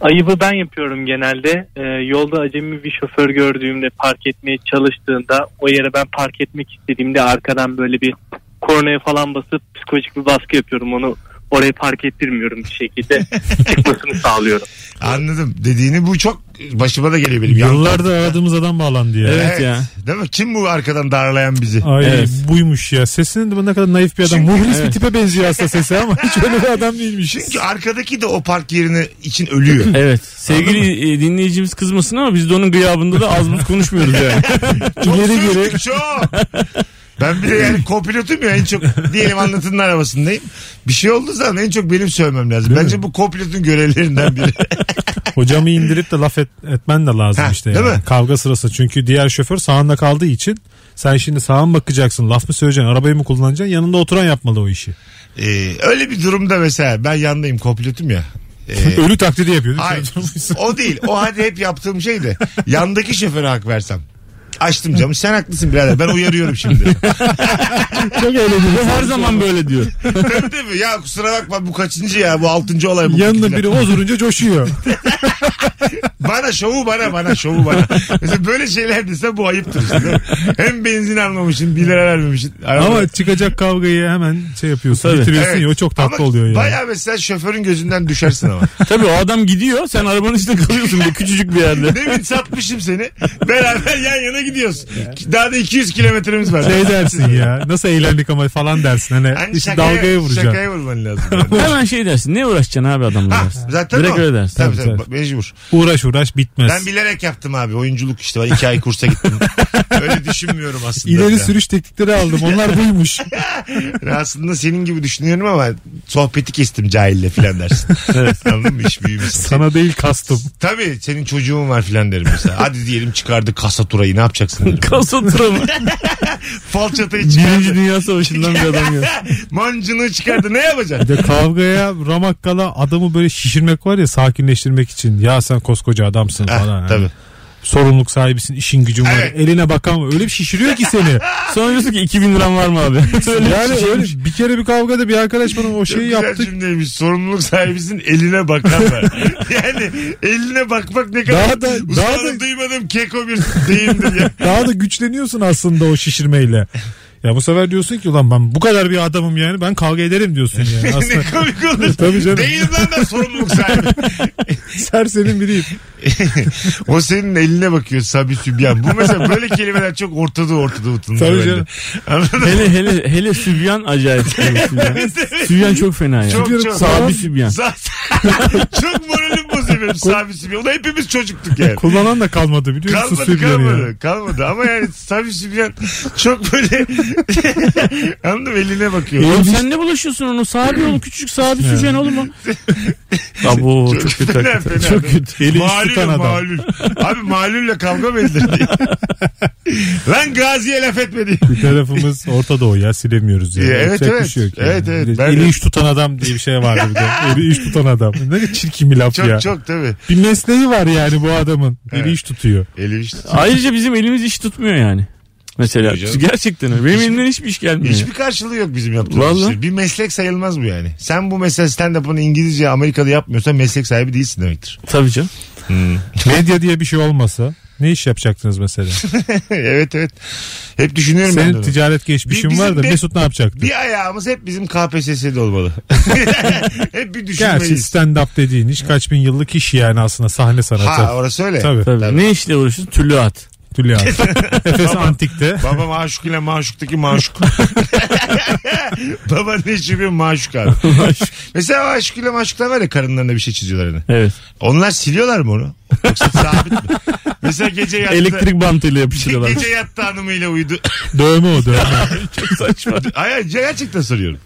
S6: Ayıbı ben yapıyorum genelde. Ee, yolda acemi bir şoför gördüğümde park etmeye çalıştığında o yere ben park etmek istediğimde arkadan böyle bir kornaya falan basıp psikolojik bir baskı yapıyorum. Onu oraya park ettirmiyorum bir şekilde. Çıkmasını sağlıyorum.
S3: Anladım. Dediğini bu çok başıma da geliyor benim.
S4: Yıllardır aradığımız adam bağlandı ya.
S5: Evet ya.
S3: Değil mi? Kim bu arkadan darlayan bizi?
S4: Ay
S5: Evet.
S4: buymuş ya. Sesinin de ne kadar naif bir adam.
S3: Çünkü-
S4: Muhlis bir tipe benziyor aslında sesi ama hiç öyle bir adam değilmiş.
S3: Çünkü arkadaki de o park yerine için ölüyor.
S5: Evet. Sevgili e, dinleyicimiz kızmasın ama biz de onun gıyabında da az buz konuşmuyoruz yani.
S3: çok
S4: ileri
S3: sövdük,
S4: geri.
S3: çok. Ben bir de yani kopilotum ya en çok diyelim anlatının arabasındayım. Bir şey olduğu zaman en çok benim sövmem lazım. Bence bu kopilotun görevlerinden biri.
S4: Hocamı indirip de laf et- etmen de lazım
S3: Ha,
S4: işte.
S3: değil
S4: yani.
S3: mi?
S4: Kavga sırası. Çünkü diğer şoför sağında kaldığı için sen şimdi sağa mı bakacaksın, laf mı söyleyeceksin, arabayı mı kullanacaksın? Yanında oturan yapmalı o işi.
S3: Ee, öyle bir durumda mesela ben yandayım kopilotum ya. Ee,
S4: Ölü taklidi yapıyor. değil mi?
S3: Hayır.
S4: Sen durmuşsun.
S3: o değil. O hadi hep yaptığım şey de. Yandaki şoföre hak versem. Açtım camı. Sen haklısın birader. Ben uyarıyorum şimdi.
S5: Çok eğlenceli. Her zaman böyle diyor.
S3: tabii tabii. Ya kusura bakma bu kaçıncı ya? Bu altıncı olay bu.
S4: Yanında biri ozurunca coşuyor.
S3: Bana şovu bana bana şovu bana. Mesela böyle şeyler dese bu ayıptır işte. değil mi? Hem benzin almamışsın 1 lira vermemişsin. Araba-
S4: Ama çıkacak kavgayı hemen şey yapıyorsun,
S5: Tabii.
S4: bitiriyorsun
S3: Evet.
S4: ya o çok tatlı
S3: Ama
S4: oluyor ya.
S3: Bayağı mesela şoförün gözünden düşersin ama.
S5: Tabii o adam gidiyor. Sen arabanın içinde kalıyorsun bu küçücük bir yerde.
S3: Demin satmışım seni. Beraber yan yana gidiyoruz. Daha da 200 kilometremiz var.
S4: Şey dersin ya nasıl eğlendik ama falan dersin. Hani,
S3: Hani
S4: işte dalgaya vuracaksın.
S3: Şakaya vurman lazım. yani.
S5: Hemen şey dersin. Ne uğraşacaksın abi adamla
S3: Ha,
S5: dersin.
S3: zaten
S5: Direkt
S3: o.
S5: öyle dersin.
S3: Tabii,
S4: Tabii,
S3: tabii, mecbur.
S4: Uğraş uğraş bitmez.
S3: Ben bilerek yaptım abi. Oyunculuk işte. Ben iki ay kursa gittim. Öyle düşünmüyorum aslında.
S4: İleri
S3: Ya.
S4: sürüş teknikleri aldım. Onlar buymuş.
S3: Ben aslında senin gibi düşünüyorum ama sohbeti kestim cahille filan dersin. Anladın mı? İş büyümüş.
S4: Sana değil kastım.
S3: Tabii senin çocuğun var filan derim mesela. Hadi diyelim çıkardı kasa turayı ne yapacaksın derim.
S5: Kasa travma.
S3: Falçatayı
S5: Birinci
S3: çıkardı.
S5: Dünya Savaşı'ndan bir adam ya.
S3: Mancını çıkardı ne yapacaksın?
S4: Bir de kavgaya ramakkala adamı böyle şişirmek var ya sakinleştirmek için. Ya sen koskoca adamsın
S3: Ha,
S4: falan.
S3: Ah,
S4: Hani
S3: tabii.
S4: Sorumluluk sahibisin, işin gücün var.
S3: Evet.
S4: Eline bakan var. Öyle bir şişiriyor ki seni.
S5: Sonra diyorsun ki 2000 liram var mı abi? Öyle
S4: yani
S5: şişirmiş.
S4: öyle bir kere bir kavgada bir arkadaş bana o
S3: Çok
S4: şeyi
S3: güzel
S4: yaptı.
S3: cümleymiş. Sorumluluk sahibisin eline bakan var. yani eline bakmak ne kadar
S4: Daha da-
S3: Usta
S4: daha
S3: hanım
S4: da-
S3: duymadım keko bir deyimdir ya.
S4: Daha da güçleniyorsun aslında o şişirmeyle. Ya bu sefer diyorsun ki ulan ben bu kadar bir adamım yani ben kavga ederim diyorsun yani. Aslında
S3: ne komik olur.
S4: Tabii canım.
S3: Değil lan da sorumluluk sahibi.
S4: sersenin biriyim.
S3: o senin eline bakıyor Sabi Sübyan. Bu mesela böyle kelimeler çok ortada ortada utanıyor.
S4: Tabii
S3: bende.
S4: canım.
S3: Anladın mı?
S5: Hele hele hele Sübyan acayip. Sübyan. Sübyan çok fena ya.
S3: Çok çok.
S5: Sabi Sübyan.
S3: Zaten çok moralim bozuyor benim Sabi Sübyan. Ulan hepimiz çocuktuk yani.
S4: Kullanan da kalmadı biliyor musun?
S3: Kalmadı
S4: Sübyan'ı
S3: kalmadı.
S4: ya.
S3: Kalmadı ama yani Sabi Sübyan çok böyle anladın mı? Eline bakıyor.
S5: Oğlum sen ne bulaşıyorsun onu? Sabi oğlum küçücük Sabi Sübyan oğlum o. Abo çok kötü.
S3: fena,
S5: hakikaten.
S3: fena.
S5: Çok kötü. Eli
S3: malul
S4: tutan adam.
S3: malul. Abi malulle kavga mı edilir diye. Lan Gazi'ye laf etmedi.
S4: Bir tarafımız Orta Doğu ya silemiyoruz yani.
S3: Ya, evet,
S4: Yapacak bir
S3: evet.
S4: şey yok yani.
S3: Evet, evet.
S4: Bir de
S3: Ben de-
S4: Eli iş tutan adam diye bir şey vardı bir de. Eli iş tutan adam. Ne çirkin bir laf
S3: Çok
S4: ya.
S3: çok tabii.
S4: Bir mesleği var yani bu adamın. Eli
S3: Evet.
S4: iş tutuyor.
S3: Eli işte.
S5: Ayrıca bizim elimiz iş tutmuyor yani. Mesela
S3: Tutmuyor canım.
S5: gerçekten öyle. Benim elimden hiçbir iş gelmiyor.
S3: Hiçbir karşılığı yok bizim yaptığımız
S5: Vallahi.
S3: işlerin. Bir meslek sayılmaz bu yani. Sen bu mesela stand-up'ını İngilizce Amerika'da yapmıyorsan meslek sahibi değilsin demektir.
S5: Tabii canım.
S4: Medya diye bir şey olmasa ne iş yapacaktınız mesela?
S3: evet evet. Hep düşünüyorum ben de
S4: Senin
S3: onu.
S4: ticaret geçmişin
S3: Bir-
S4: var da
S3: bizim de-
S4: Mesut ne yapacaktı?
S3: Bir ayağımız hep bizim KPSS'de olmalı. hep bir
S4: Gerçi
S3: düşünmeliyiz.
S4: stand-up dediğin iş kaç bin yıllık iş yani aslında sahne sanatı.
S3: Ha orası öyle.
S4: Tabii.
S5: Tabii. Ne işle uğraşıyorsun? Tüllü at.
S4: Tülya. Efes Antik'te.
S3: Baba maşuk ile maşuktaki maşuk. Baba ne şüphe maşuk abi. Mesela maşuk ile maşuklar var ya karınlarına bir şey çiziyorlar hani.
S5: Evet.
S3: Onlar siliyorlar mı onu? Yoksa sabit mi? Mesela gece yattı.
S5: Elektrik bantıyla yapıştırıyorlar.
S3: Gece yattı hanımıyla uyudu.
S4: Dövme o dövme.
S3: Hayır gerçekten soruyorum.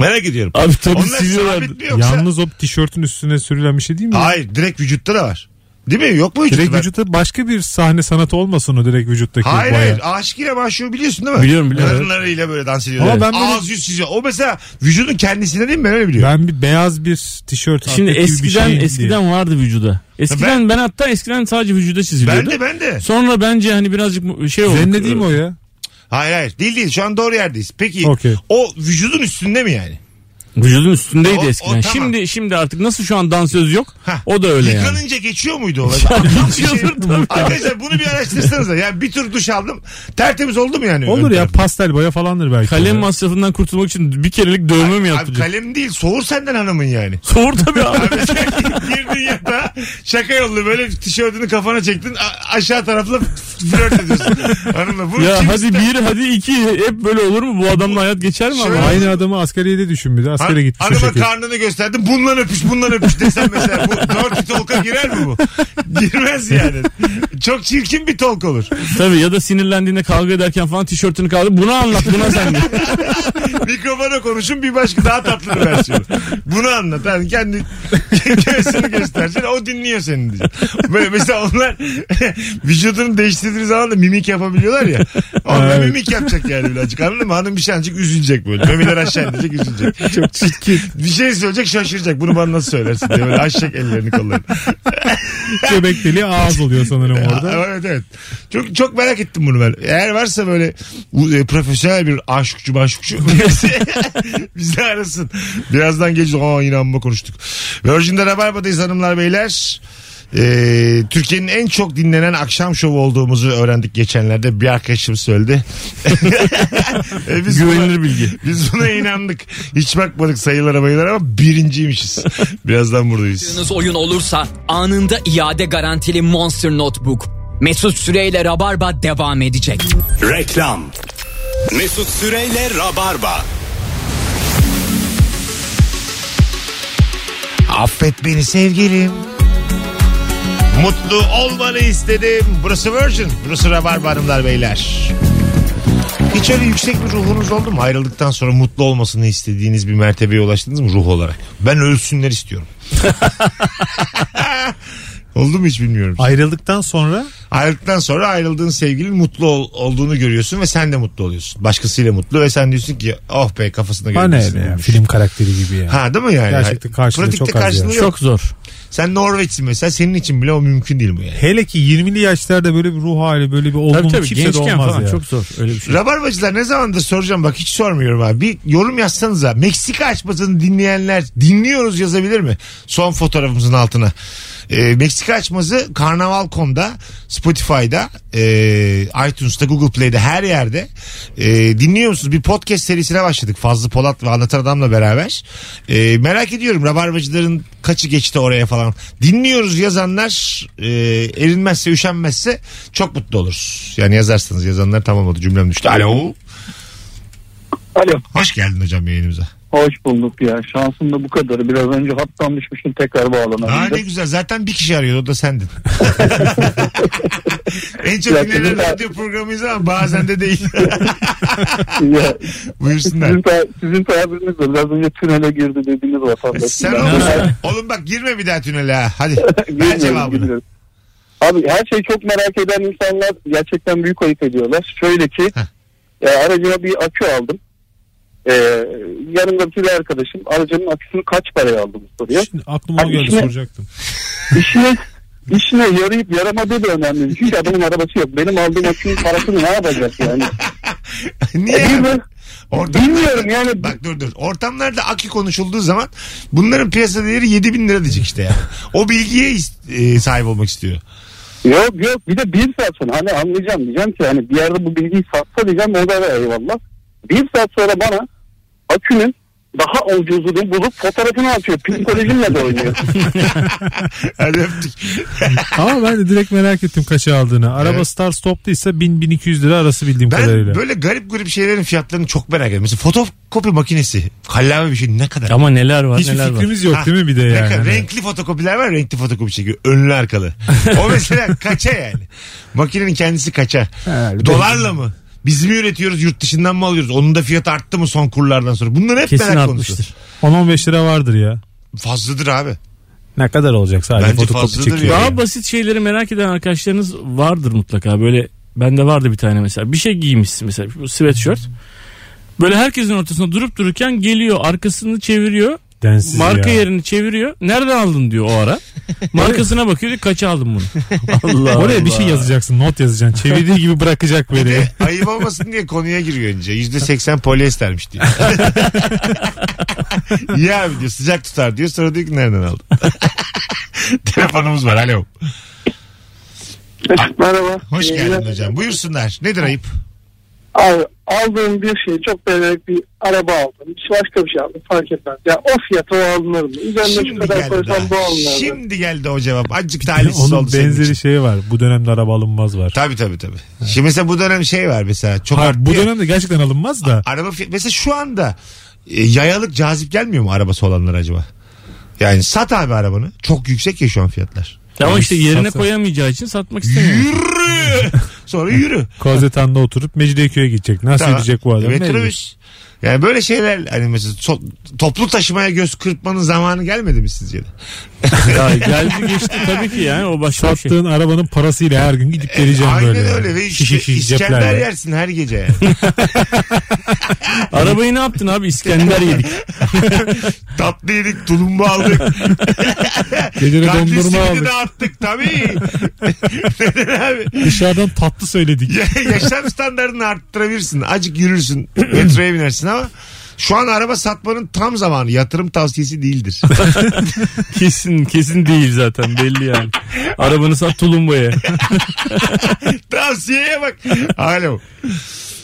S3: Merak ediyorum.
S5: Abi tabii
S3: Onlar
S5: siliyorlardı.
S3: sabit mi yoksa?
S4: Yalnız o tişörtün üstüne sürülen bir şey değil mi?
S3: Hayır direkt vücutta da var. Değil mi? Yok mu vücutta?
S4: Direkt
S3: Ben-
S4: vücutta başka bir sahne sanatı olmasın o direkt vücuttaki
S3: Hayır
S4: bayağı.
S3: hayır. Aşık ile maşuğu biliyorsun değil mi?
S5: Biliyorum, biliyorum.
S3: Kadınlarıyla böyle dans ediyorlar.
S4: Ama ben böyle-
S3: Ağız yüz çiziyor. O mesela vücudun kendisine değil mi? Ben öyle biliyorum.
S4: Ben bir beyaz bir tişört
S5: Şimdi
S4: atlet gibi bir
S5: eskiden
S4: şey
S5: eskiden
S4: diye.
S5: vardı vücuda. Eskiden ben, hatta eskiden sadece vücuda çiziliyordu.
S3: Ben, de ben de.
S5: Sonra bence hani birazcık mu- şey oldu.
S4: Zannedeyim o ya.
S3: Hayır hayır. Değil değil. Şu an doğru yerdeyiz. Peki
S4: Okey.
S3: o vücudun üstünde mi yani?
S5: Vücudun üstündeydi
S3: O- o
S5: eskiden.
S3: tamam.
S5: Şimdi şimdi artık nasıl şu an dansöz yok.
S3: Hah.
S5: O da öyle yani.
S3: Yıkanınca geçiyor muydu o? Geçiyordur
S5: tabii.
S3: Arkadaşlar bunu bir araştırsanıza. Yani bir tür duş aldım. Tertemiz oldu mu yani?
S4: Olur
S3: Ön
S4: ya
S3: tarafı?
S4: pastel boya falandır belki.
S5: Kalem
S4: Onlar.
S5: masrafından kurtulmak için bir kerelik dövme mi
S3: Abi
S5: yaptıracak?
S3: kalem değil. Soğur senden hanımın yani.
S5: Soğur tabii abi.
S3: Girdin yatağa şaka yollu böyle tişörtünü kafana çektin a- aşağı tarafla flört ediyorsun hanımla. Bunu
S5: ya
S3: kim
S5: hadi bir hadi iki hep böyle olur mu? Bu adamla hayat geçer mi?
S3: Şöyle-
S5: Ama?
S4: Aynı adamı askeriyede düşün bir de.
S3: Ha-
S4: Askere gitmiş o
S3: Hanıma
S4: şekil.
S3: karnını gösterdin. Bundan öpüş, bundan öpüş desen mesela. Bu dört bir tolka girer mi bu? Girmez yani. Çok çirkin bir tolk olur.
S5: Tabii ya da sinirlendiğinde kavga ederken falan tişörtünü kaldır. Bunu anlat buna sen de.
S3: Mikrofona konuşun bir başka daha tatlı bir versiyonu. Bunu anlat. Yani kendi göğsünü göstersin. O dinliyor seni diye. Böyle mesela onlar vücudunu değiştirdiği zaman da mimik yapabiliyorlar ya. Onlar
S4: Evet.
S3: mimik yapacak yani birazcık. Anladın mı? Hanım bir şey anlayacak üzülecek böyle. Memeler aşağı inecek üzülecek. Çok çirkin. Bir şey söyleyecek şaşıracak. Bunu bana nasıl söylersin diye. Böyle aşacak ellerini kollarını.
S4: Göbek deliği ağız oluyor sanırım orada.
S3: Aa, Evet evet. Çok çok merak ettim bunu ben. Eğer varsa böyle bu, e, profesyonel bir aşıkçı maşukçu birisi bizi arasın. Birazdan geleceğiz. Aa yine amma konuştuk. Virgin'de Rabarba'dayız hanımlar beyler. Ee, Türkiye'nin en çok dinlenen akşam şovu olduğumuzu öğrendik geçenlerde. Bir arkadaşım söyledi. E, biz buna,
S5: Güvenilir bilgi.
S3: Biz buna inandık. Hiç bakmadık sayılara bayılara ama birinciymişiz. Birazdan buradayız.
S11: Yaptığınız oyun olursa anında iade garantili Monster Notebook. Mesut Süreyle Rabarba devam edecek.
S2: Reklam.
S12: Mesut Süreyle Rabarba.
S3: Affet beni sevgilim. Mutlu olmanı istedim. Burası Virgin. Burası Rabarba Hanımlar Beyler. Hiç öyle yüksek bir ruhunuz oldu mu? Ayrıldıktan sonra mutlu olmasını istediğiniz bir mertebeye ulaştınız mı ruh olarak? Ben ölsünler istiyorum. oldu mu hiç bilmiyorum.
S4: Ayrıldıktan sonra
S3: Ayrıldıktan sonra ayrıldığın sevgilin mutlu ol- olduğunu görüyorsun ve sen de mutlu oluyorsun. Başkasıyla mutlu ve sen diyorsun ki oh be kafasına
S4: bana
S3: göre.
S4: ne ya, film karakteri gibi ya.
S3: Ha değil mi yani?
S4: Gerçekten karşılığı
S3: Pratikte
S4: çok az ya.
S3: karşılığı yok.
S5: Çok zor.
S3: Sen Norveç'sin mesela senin için bile o mümkün değil bu yani.
S4: Hele ki 20'li yaşlarda böyle bir ruh hali böyle bir
S5: Tabii
S4: olgunluk
S5: tabii
S4: kimse de
S5: gençken
S4: olmaz
S5: falan
S4: ya.
S5: çok zor öyle bir şey.
S3: Rabarbacılar ne zamandır soracağım bak hiç sormuyorum abi. Bir yorum yazsanıza. Meksika açmasını dinleyenler dinliyoruz yazabilir mi? Son fotoğrafımızın altına. Ee, Meksika açması Karnaval.com'da, Spotify'da, e, iTunes'ta, Google Play'de her yerde. E, dinliyor musunuz? Bir podcast serisine başladık. Fazlı Polat ve Anlatan Adam'la beraber. E, merak ediyorum Rabarbacıların kaçı geçti oraya falan. Dinliyoruz yazanlar e, erinmezse, üşenmezse çok mutlu oluruz. Yani yazarsanız yazanlar tamam oldu cümlem düştü. Alo.
S6: Alo.
S3: Hoş geldin hocam yayınımıza.
S6: Hoş bulduk ya. Şansım da bu kadarı. Biraz önce hattan düşmüştüm tekrar
S3: Aa, ne
S6: bağlanabildim.
S3: güzel zaten bir kişi arıyordu o da sendin. en çok
S6: Ya,
S3: dinlenen
S6: ben-
S3: radyo programıyız ama bazen de değil.
S6: Ya,
S3: Buyursunlar.
S6: sizin, ta- sizin tabirinizle biraz önce tünele girdi dediğiniz vatandaş.
S3: E, Sen
S6: Ben-
S3: olursun. Oğlum bak girme bir daha tünele ha. Hadi ver
S6: Bilmiyorum,
S3: cevabını.
S6: bilmiyorum. Abi her şeyi çok merak eden insanlar gerçekten büyük ayıp ediyorlar. Şöyle ki e, aracıma bir akü aldım. E, yanımdaki bir arkadaşım aracımın aküsünü kaç paraya aldım soruyor.
S4: Şimdi aklıma o
S6: Abi
S4: geldi
S6: işine-
S4: soracaktım.
S6: İşine, işine yarayıp yaramadığı da önemli. Çünkü adamın arabası yok. Benim aldığım akünün parasını ne yapacak yani? E,
S3: Niye?
S6: bilmiyorum.
S3: Ortam-
S6: Bilmiyorum yani.
S3: Bak dur dur. Ortamlarda akü konuşulduğu zaman bunların piyasa değeri 7 bin lira diyecek işte ya. O bilgiye is- e, sahip olmak istiyor.
S6: Yok yok bir de bir saat sonra hani anlayacağım diyeceğim ki hani bir yerde bu bilgiyi satsa diyeceğim o da var, eyvallah. Bir saat sonra bana akünün daha ucuzunu bulup fotoğrafını atıyor. Psikolojimle de oynuyor.
S3: Hadi öptük.
S4: Ama ben de direkt merak ettim kaça aldığını. Araba
S3: Evet.
S4: Star Stop'taysa 1000-1200 lira arası bildiğim
S3: Ben
S4: kadarıyla.
S3: böyle garip garip şeylerin fiyatlarını çok merak ediyorum. Mesela fotokopi makinesi. Kallavi bir şey ne kadar?
S5: Ama neler var
S4: Hiçbir
S5: neler var.
S4: fikrimiz yok
S3: Ha,
S4: değil mi bir de
S3: ne
S4: yani?
S3: kadar?
S4: Hani
S3: Renkli fotokopiler var renkli fotokopi çekiyor. Önlü arkalı. O mesela kaça yani? Makinenin kendisi kaça? Dolarla mı? Biz mi üretiyoruz yurt dışından mı alıyoruz? Onun da fiyatı arttı mı son kurlardan sonra? Bunlar hep
S5: Kesin
S3: merak konusu.
S5: atmıştır.
S4: 10-15 lira vardır ya.
S3: Fazladır abi.
S4: Ne kadar olacak sadece
S3: Bence
S4: fotokopi
S3: fazladır
S4: çekiyor.
S3: ya.
S5: Daha basit şeyleri merak eden arkadaşlarınız vardır mutlaka. Böyle bende vardı bir tane mesela. Bir şey giymişsin mesela bu sweatshirt. Böyle herkesin ortasında durup dururken geliyor arkasını çeviriyor.
S4: Densiz
S5: marka
S4: ya.
S5: yerini çeviriyor. Nereden aldın diyor o ara. Markasına bakıyor diyor kaça aldın bunu. Allah
S4: Oraya bir şey yazacaksın not yazacaksın. Çevirdiği gibi bırakacak beni.
S3: Ayıp olmasın diye konuya giriyor önce. Yüzde seksen polyestermiş diyor. İyi abi diyor sıcak tutar diyor. Sonra diyor ki nereden aldın? Telefonumuz var alo.
S6: Merhaba.
S3: Hoş
S6: İyi
S3: geldin
S6: günler.
S3: hocam. Buyursunlar. Nedir ayıp?
S6: Abi, aldığım bir şeyi çok beğenerek bir araba aldım. Hiç başka bir şey aldım fark etmez. Ya o fiyata o alınır mı? Üzerine şu
S3: Şimdi
S6: kadar
S3: geldi,
S6: koysam bu
S3: daha.
S6: alınır mı?
S3: Şimdi geldi o cevap. Azıcık talihsiz
S4: Onun
S3: oldu senin için.
S4: benzeri şey. şeyi var. Bu dönemde araba alınmaz var.
S3: Tabii tabii tabii. Şimdi mesela bu dönem şey var mesela. Çok
S4: Hayır,
S3: artıyor.
S4: bu dönemde gerçekten alınmaz da.
S3: Araba fi- mesela şu anda e, yayalık cazip gelmiyor mu arabası olanlar acaba? Yani sat abi arabanı. Çok yüksek ya şu an fiyatlar.
S5: Ama işte yerine
S4: Satsa.
S5: koyamayacağı için satmak istemiyor.
S3: Yürü. Sonra yürü.
S4: Kozetan'da oturup Mecidiyeköy'e gidecek. Nasıl
S3: Tamam. E,
S4: gidecek bu adam? Ne bileyim.
S3: Metrobüs. Yani böyle şeyler hani mesela so- toplu taşımaya göz kırpmanın zamanı gelmedi mi sizce de?
S5: Ya geldi geçti tabii ki yani o başka bir şey.
S4: Sattığın arabanın parasıyla her gün gidip geleceğim
S3: Aynen
S4: böyle.
S3: öyle ve
S4: Şişe
S3: işte
S4: şişe
S3: İskender
S4: ceplerle.
S3: yersin her gece yani.
S5: Arabayı ne yaptın abi İskender yedik.
S3: Tatlı yedik, tulumba aldık.
S4: Gecene
S3: Kalbi
S4: dondurma
S3: simidi
S4: aldık.
S3: de attık tabii. Neden abi?
S4: Dışarıdan tatlı söyledik.
S3: Ya- Yaşam standartını arttırabilirsin. Acık yürürsün. Metroya binersin ama şu an araba satmanın tam zamanı. Yatırım tavsiyesi değildir.
S5: Kesin kesin değil zaten belli yani. Arabanı sat tulumbaya.
S3: Tavsiyeye bak. Alo.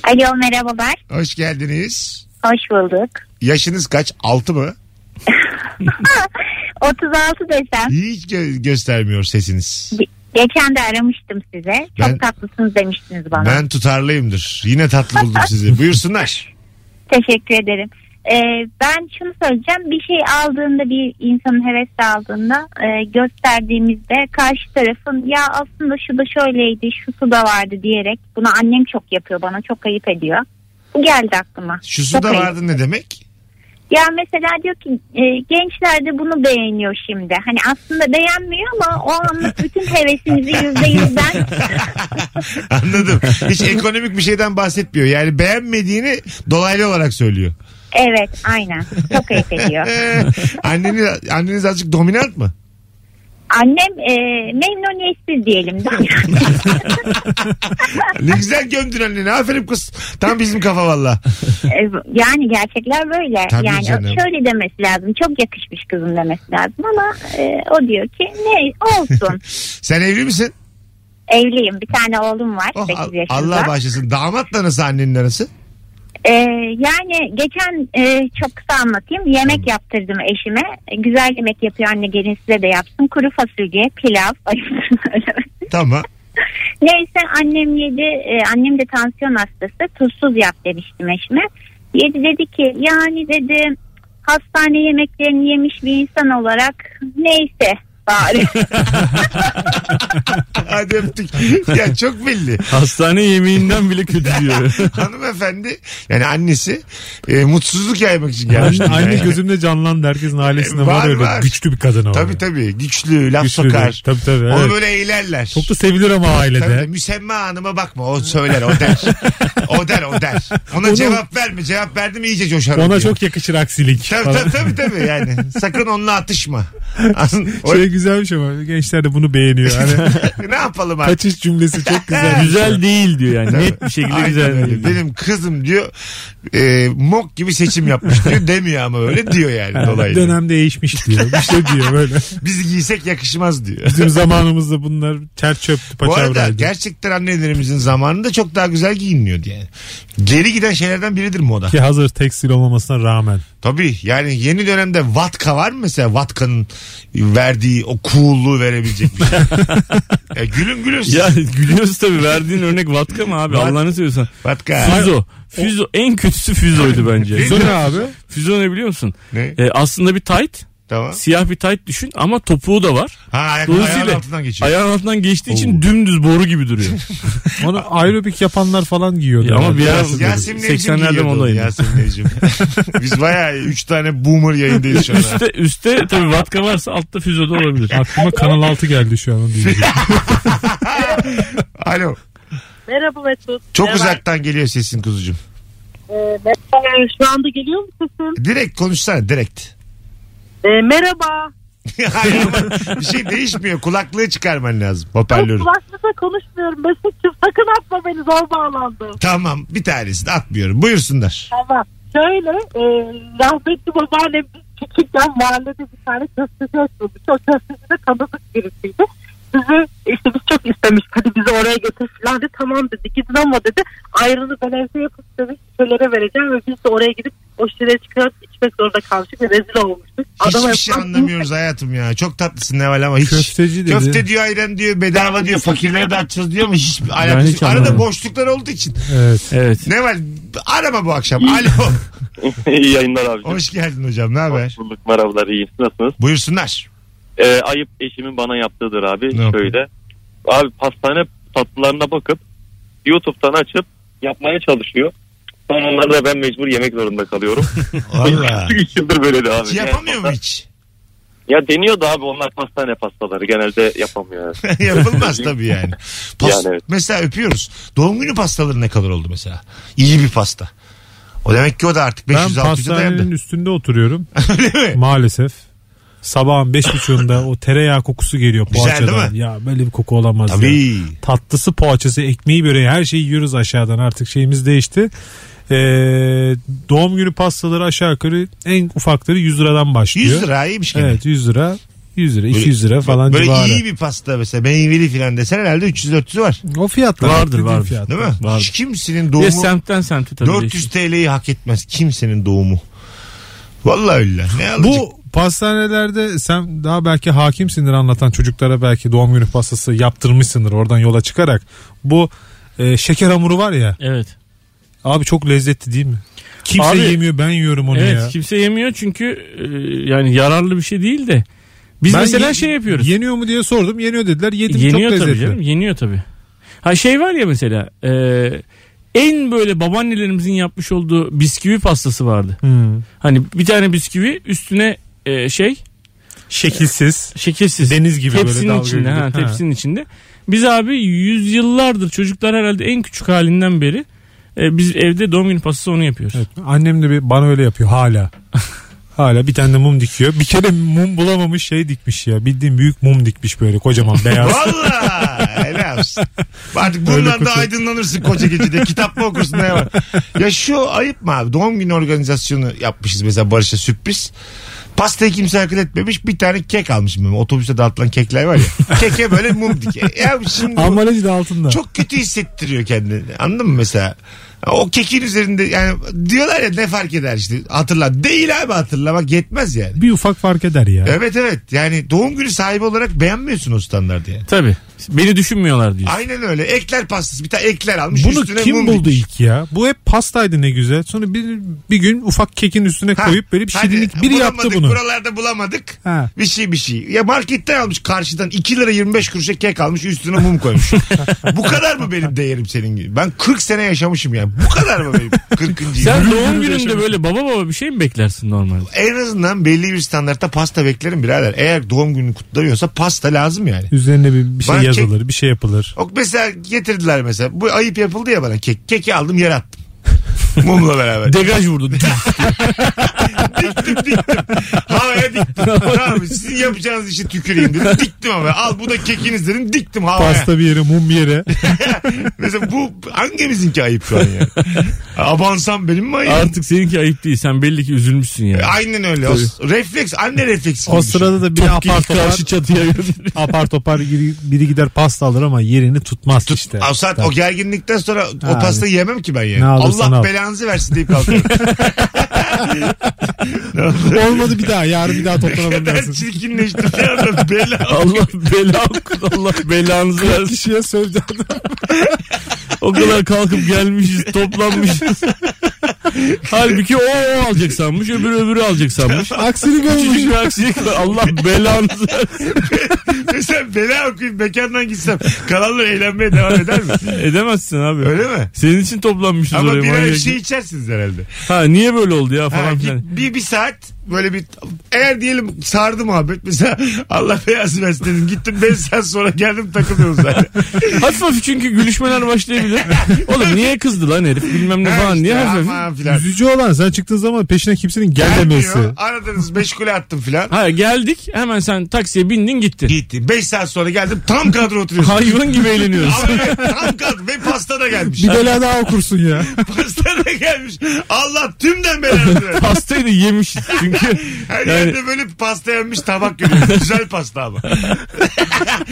S13: Alo merhabalar.
S3: Hoş geldiniz.
S13: Hoş bulduk.
S3: Yaşınız kaç? 6 mı?
S13: 36 desem
S3: Hiç gö- göstermiyor sesiniz.
S13: Geçen de aramıştım size. Çok
S3: Ben-
S13: tatlısınız demiştiniz bana.
S3: Ben tutarlıyımdır. Yine tatlı buldum sizi. Buyursunlar.
S13: Teşekkür ederim. Ee, ben şunu söyleyeceğim. Bir şey aldığında bir insanın hevesle aldığında e, gösterdiğimizde karşı tarafın ya aslında şu da şöyleydi, şusu da vardı diyerek bunu annem çok yapıyor bana çok ayıp ediyor. Bu geldi aklıma.
S3: Şusu
S13: Çok
S3: da
S13: ayıp.
S3: vardı ne demek?
S13: Ya mesela diyor ki e, gençler de bunu beğeniyor şimdi. Hani aslında beğenmiyor ama o anlık bütün hevesimizi yüzde yüzden
S3: Anladım. Hiç ekonomik bir şeyden bahsetmiyor. Yani beğenmediğini dolaylı olarak söylüyor.
S13: evet aynen çok ayıp ediyor.
S3: Ee, Anneni, anneniz azıcık dominant mı?
S13: Annem e, memnuniyetsiz diyelim.
S3: Ne güzel gömdün anneni. Aferin kız. Tam bizim kafa valla.
S13: E, yani gerçekler böyle.
S3: Tabii
S13: yani
S3: canım.
S13: şöyle demesi lazım. Çok yakışmış kızım demesi lazım ama e, o diyor ki ne olsun.
S3: Sen evli misin?
S13: Evliyim. Bir tane oğlum var.
S3: Oh,
S13: 8
S3: Al-
S13: yaşında.
S3: Allah bağışlasın. Damatla nasıl annenin arası?
S13: E, yani geçen e, çok kısa anlatayım. Yemek yaptırdım eşime. E, Güzel yemek yapıyor anne gelin size de yapsın. Kuru fasulye, pilav. Ayıptır söylemesi.
S3: Tamam.
S13: Neyse annem yedi. e, annem de tansiyon hastası. Tuzsuz yap demiştim eşime. Yedi dedi ki yani dedi hastane yemeklerini yemiş bir insan olarak neyse bari.
S3: Hadi öptük. ya çok belli.
S5: Hastane yemeğinden bile kötü diyor.
S3: Hanımefendi yani annesi e, mutsuzluk yaymak için gelmiş.
S4: Anne, anne
S3: dünyaya.
S4: gözümde canlandı herkesin ailesinde
S3: E, Var,
S4: var, öyle
S3: var.
S4: güçlü bir kadın o.
S3: Tabii tabii. Güçlü, laf
S4: Güçlü
S3: sokar.
S4: değil. Tabii tabii,
S3: Onu
S4: evet.
S3: böyle eğlerler.
S4: Çok da sevilir ama
S3: Tabii de
S4: ailede.
S3: müsemma hanıma bakma o söyler o der. o der o der. Ona cevap verme cevap verdi mi iyice coşar.
S4: Ona
S3: diyor.
S4: çok yakışır aksilik.
S3: Tabii
S4: falan.
S3: tabii tabii, tabii yani. Sakın onunla atışma. O-
S4: Şey güzelmiş ama gençler de bunu beğeniyor. Hani
S3: ne yapalım artık?
S4: kaçış cümlesi çok güzel.
S5: güzel değil diyor yani. Net bir şekilde
S3: Aynen
S5: güzel
S3: öyle.
S5: değil. diyor.
S3: Benim kızım diyor e, mok gibi seçim yapmış diyor. Demiyor ama öyle diyor yani
S4: Yani
S3: dolayısıyla.
S4: dönem değişmiş diyor. Bir şey diyor böyle.
S3: Biz giysek yakışmaz diyor.
S4: Bizim zamanımızda bunlar ter çöptü
S3: Bu arada
S4: paçavraydı.
S3: gerçekten annelerimizin zamanında çok daha güzel giyinmiyordu yani. Geri giden şeylerden biridir moda.
S4: Ki hazır tekstil olmamasına rağmen.
S3: Tabii yani yeni dönemde vatka var mı mesela vatkanın verdiği o cool'luğu verebilecek bir şey. ya gülün gülün siz.
S5: Ya gülüyoruz tabii verdiğin örnek vatka mı abi
S3: Vat-
S5: Allah'ını seviyorsan.
S3: Vatka.
S5: Füzo. Füzo en kötüsü füzoydu bence.
S4: Sonra abi?
S5: Füzo ne biliyor musun?
S3: Ne?
S5: Ee, aslında bir tight.
S3: Tamam.
S5: Siyah bir tight düşün ama topuğu da var.
S3: Ha ayak, ayağın
S5: Dolayısıyla
S3: altından geçiyor.
S5: ayağın altından geçtiği için dümdüz boru gibi duruyor.
S4: Onu aerobik yapanlar falan giyiyordu.
S5: Ya ama bir ara
S3: Yasemin Evcim
S5: 80'lerde
S3: giyiyordu onu,
S5: modaydı.
S3: Yasemin Evcim. Biz bayağı 3 tane boomer yayındayız şu an.
S5: üste, üste tabii vatka varsa altta füzo da olabilir.
S4: Aklıma Kanal 6 geldi şu an. onu diyeceğim.
S3: Alo.
S14: Merhaba Mesut.
S3: Çok
S14: Merhaba.
S3: uzaktan geliyor sesin kuzucuğum.
S14: Ee, merhaba. Şu anda geliyor mu sesim?
S3: Direkt konuşsana direkt.
S14: Ee, merhaba.
S3: Hayır ama bir şey değişmiyor. Kulaklığı çıkarman lazım.
S14: Çok
S3: Hoparlörü.
S14: kulaklıkla konuşmuyorum Mesut'cum. Sakın atma beni zor bağlandım.
S3: Tamam bir tanesini atmıyorum. Buyursunlar.
S14: Tamam. Şöyle e, rahmetli babaannem biz küçükken mahallede bir tane köfteci açıyormuş. O köfteci de tanıdık birisiydi. Bizi işte biz çok istemiş. Hadi bizi oraya götür falan dedi. Tamam dedi. Gidin ama dedi. Ayrını ben evde yapıp dedi. Şişelere vereceğim ve biz de oraya gidip o şişeleri çıkarıp içmek zorunda kalmıştık ve rezil olmuştuk. Adama
S3: Hiçbir şey
S14: yapılan-
S3: anlamıyoruz hayatım ya. Çok tatlısın Neval ama hiç.
S4: Köfteci dedi.
S3: Köfte diyor ayran diyor bedava diyor fakirlere dağıtacağız diyor ama hiç alakası
S5: hiç
S3: yok. Arada
S5: anlamadım.
S3: boşluklar olduğu için.
S4: Evet.
S5: Evet.
S3: Neval arama bu akşam. Alo.
S10: İyi yayınlar abi.
S3: Hoş geldin hocam ne haber?
S10: bulduk. Merhabalar iyiyim. Nasılsınız?
S3: Buyursunlar.
S10: Ee, ayıp eşimin bana yaptığıdır abi.
S3: Ne yaptı?
S10: Şöyle. Abi pastane tatlılarına bakıp YouTube'dan açıp yapmaya çalışıyor. Sonra onları da ben mecbur yemek zorunda kalıyorum.
S3: Valla.
S10: Üç yıldır böyle de abi.
S3: Hiç yapamıyor mu hiç?
S10: Ya deniyor da abi onlar pastane pastaları genelde yapamıyor.
S3: Yapılmaz tabii yani. Pas-
S10: Yani evet.
S3: Mesela öpüyoruz. Doğum günü pastaları ne kadar oldu mesela? İyi bir pasta. O demek ki o da artık
S4: Ben
S3: 500-600'e dayandı.
S4: pastanenin üstünde oturuyorum.
S3: Öyle mi?
S4: Maalesef. Sabahın beş buçuğunda o tereyağı kokusu geliyor
S3: Güzel
S4: poğaçadan.
S3: değil mi?
S4: Ya böyle bir koku olamaz ya.
S3: Tabii.
S4: Tatlısı poğaçası, ekmeği böreği her şeyi yiyoruz aşağıdan artık şeyimiz değişti. Ee, doğum günü pastaları aşağı yukarı en ufakları 100 liradan başlıyor.
S3: 100 lira iyiymiş gene.
S4: Evet 100 lira. 100 lira 200 lira falan
S3: Böyle
S4: civarı.
S3: iyi bir pasta mesela meyveli filan desen herhalde 300-400'ü var.
S4: O fiyatlar.
S5: Vardır,
S4: dediğim
S5: vardır.
S4: fiyatlar.
S3: Değil mi?
S5: Var.
S3: Hiç kimsenin
S5: Bir de
S3: doğumu
S5: semtten semte tabii.
S3: 400
S5: değişir.
S3: TL'yi hak etmez. Kimsenin doğumu. Vallahi öyle. Ne alacak?
S4: Bu pastanelerde sen daha belki hakimsindir anlatan çocuklara belki doğum günü pastası yaptırmışsındır oradan yola çıkarak. Bu e, şeker hamuru var ya.
S5: Evet.
S4: Abi çok lezzetli değil mi? Kimse
S5: Abi-
S4: yemiyor ben yiyorum onu
S5: evet
S4: ya.
S5: kimse yemiyor çünkü e, yani yararlı bir şey değil de. Biz
S4: Ben
S5: mesela
S4: ye-
S5: şey yapıyoruz.
S4: Yeniyor mu diye sordum. Yeniyor dediler. Yedim
S5: Yeniyor
S4: çok
S5: tabii
S4: lezzetli.
S5: canım yeniyor tabii. Ha şey var ya mesela e, en böyle babaannelerimizin yapmış olduğu bisküvi pastası vardı.
S4: Hmm.
S5: Hani bir tane bisküvi üstüne e, şey
S4: Şekilsiz.
S5: şekilsiz.
S4: Deniz gibi böyle
S5: tepsinin
S4: dalga
S5: içinde.
S4: gibi.
S5: Ha,
S4: Ha.
S5: tepsinin içinde. Biz abi yüzyıllardır çocuklar herhalde en küçük halinden beri e, biz evde doğum günü pastası onu yapıyoruz.
S4: Evet, annem de bir, bana öyle yapıyor hala. Hala bir tane de mum dikiyor. Bir kere mum bulamamış şey dikmiş ya. Bildiğin büyük mum dikmiş böyle kocaman beyaz.
S3: Vallahi helal olsun. Artık
S4: Böyle
S3: bundan da
S4: kurtul-
S3: aydınlanırsın koca gecede. Kitap mı okursun ne var? Ya şu ayıp mı abi? Doğum günü organizasyonu yapmışız mesela Barış'a sürpriz. Pastayı kimse akıl etmemiş. Bir tane kek almışım ben. Otobüste dağıtılan kekler var ya. Keke böyle mum dike. Ya şimdi bu
S4: Ambalajı da altında.
S3: çok kötü hissettiriyor kendini. Anladın mı mesela? O kekin üzerinde yani diyorlar ya ne fark eder işte. Hatırla. Değil abi hatırlamak yetmez yani.
S4: Bir ufak fark eder ya.
S3: Evet evet. Yani doğum günü sahibi olarak beğenmiyorsun o standartı yani.
S5: Tabii. Beni düşünmüyorlar diyor.
S3: Aynen öyle. Ekler pastası. Bir tane ekler almış.
S4: Bunu
S3: üstüne
S4: kim
S3: mum
S4: buldu
S3: dikmiş.
S4: ilk ya? Bu hep pastaydı ne güzel. Sonra bir, bir gün ufak kekin üstüne
S3: Ha,
S4: koyup böyle bir
S3: hadi,
S4: şirinlik biri yaptı
S3: bulamadık,
S4: bunu.
S3: Buralarda bulamadık.
S4: Ha.
S3: Bir şey bir şey. Ya marketten almış karşıdan 2 lira 25 kuruşa kek almış üstüne mum koymuş. bu kadar mı benim değerim senin gibi? Ben 40 sene yaşamışım yani. Bu kadar mı benim 40.
S5: Sen
S3: yılım?
S5: doğum gününde böyle baba baba bir şey mi beklersin normalde?
S3: En azından belli bir standartta pasta beklerim birader. Eğer doğum gününü kutlanıyorsa pasta lazım yani.
S4: Üzerine bir, bir şey
S3: Bana kek-
S4: yazılır, bir şey yapılır.
S3: O mesela getirdiler mesela. Bu ayıp yapıldı ya bana kek. Keki aldım yere attım. Mumla beraber.
S5: Degaj vurdu.
S3: diktim diktim. Havaya diktim. tamam sizin yapacağınız işi tüküreyim dedim. Diktim havaya. Al bu da kekiniz dedim. Diktim havaya.
S4: Pasta bir yere, mum bir yere.
S3: Mesela bu hangimizinki ayıp şu an ya? Abansam benim mi ayıp?
S5: Artık seninki ayıp değil. Sen belli ki üzülmüşsün ya.
S3: Aynen öyle. O refleks. Anne refleksi. gibi
S4: o sırada da biri apar
S5: Topkini
S4: topar,
S5: karşı çatıya götür.
S4: apar topar biri, biri gider pasta alır ama yerini tutmaz
S3: Tut-
S4: işte.
S3: O saat o gerginlikten sonra o
S4: Abi.
S3: pastayı yemem ki ben yani.
S4: Ne alırsan
S3: Allah
S4: al.
S3: belanızı versin deyip kalkıyorum.
S4: Olmadı bir daha yarın bir daha
S3: Neden
S4: toplanabilirsin.
S3: çirkinleşti bir anda bela.
S5: Allah bela okut. Allah belanızı versin.
S4: Kişiye sövdü adam.
S5: O kadar kalkıp gelmişiz, toplanmışız. Halbuki o, o alacak sanmış, öbürü öbürü alacak sanmış.
S4: Aksini
S5: Küçücük
S4: görmüş.
S5: bir aksilik var. Allah belanızı versin.
S3: Mesela bela okuyup mekandan gitsem kalanlar eğlenmeye devam eder mi?
S5: Edemezsin abi.
S3: Öyle mi?
S5: Senin için toplanmışız
S3: Ama
S5: oraya.
S3: birer
S5: manyak.
S3: bir şey içersiniz herhalde.
S5: Ha niye böyle oldu ya
S3: Ha,
S5: falan
S3: git
S5: filan.
S3: bir, bir saat böyle bir eğer diyelim sardı muhabbet mesela Allah beyaz versin dedim gittim 5 saat sonra geldim takılıyoruz zaten.
S5: Hafif hafif çünkü gülüşmeler başlayabilir. Oğlum niye kızdı lan herif bilmem ne
S3: Ha
S5: falan
S3: işte,
S5: niye hafif hafif.
S3: aman filan.
S4: Üzücü olan sen çıktığın zaman peşine kimsenin gelmemesi.
S3: Gelmiyor. Aradınız meşgule attım filan.
S5: Ha geldik hemen sen taksiye bindin gittin.
S3: Gitti. 5 saat sonra geldim tam kadro oturuyoruz.
S5: Hayvan gibi eğleniyoruz.
S3: Ama evet, tam kadro ve pasta da gelmiş.
S4: Bir bela daha okursun ya.
S3: pasta da gelmiş. Allah tümden belanı versin.
S5: Pastayı da yemişiz çünkü.
S3: Her
S5: Yani-
S3: yerde böyle pasta yenmiş tabak görüyoruz. Güzel pasta ama.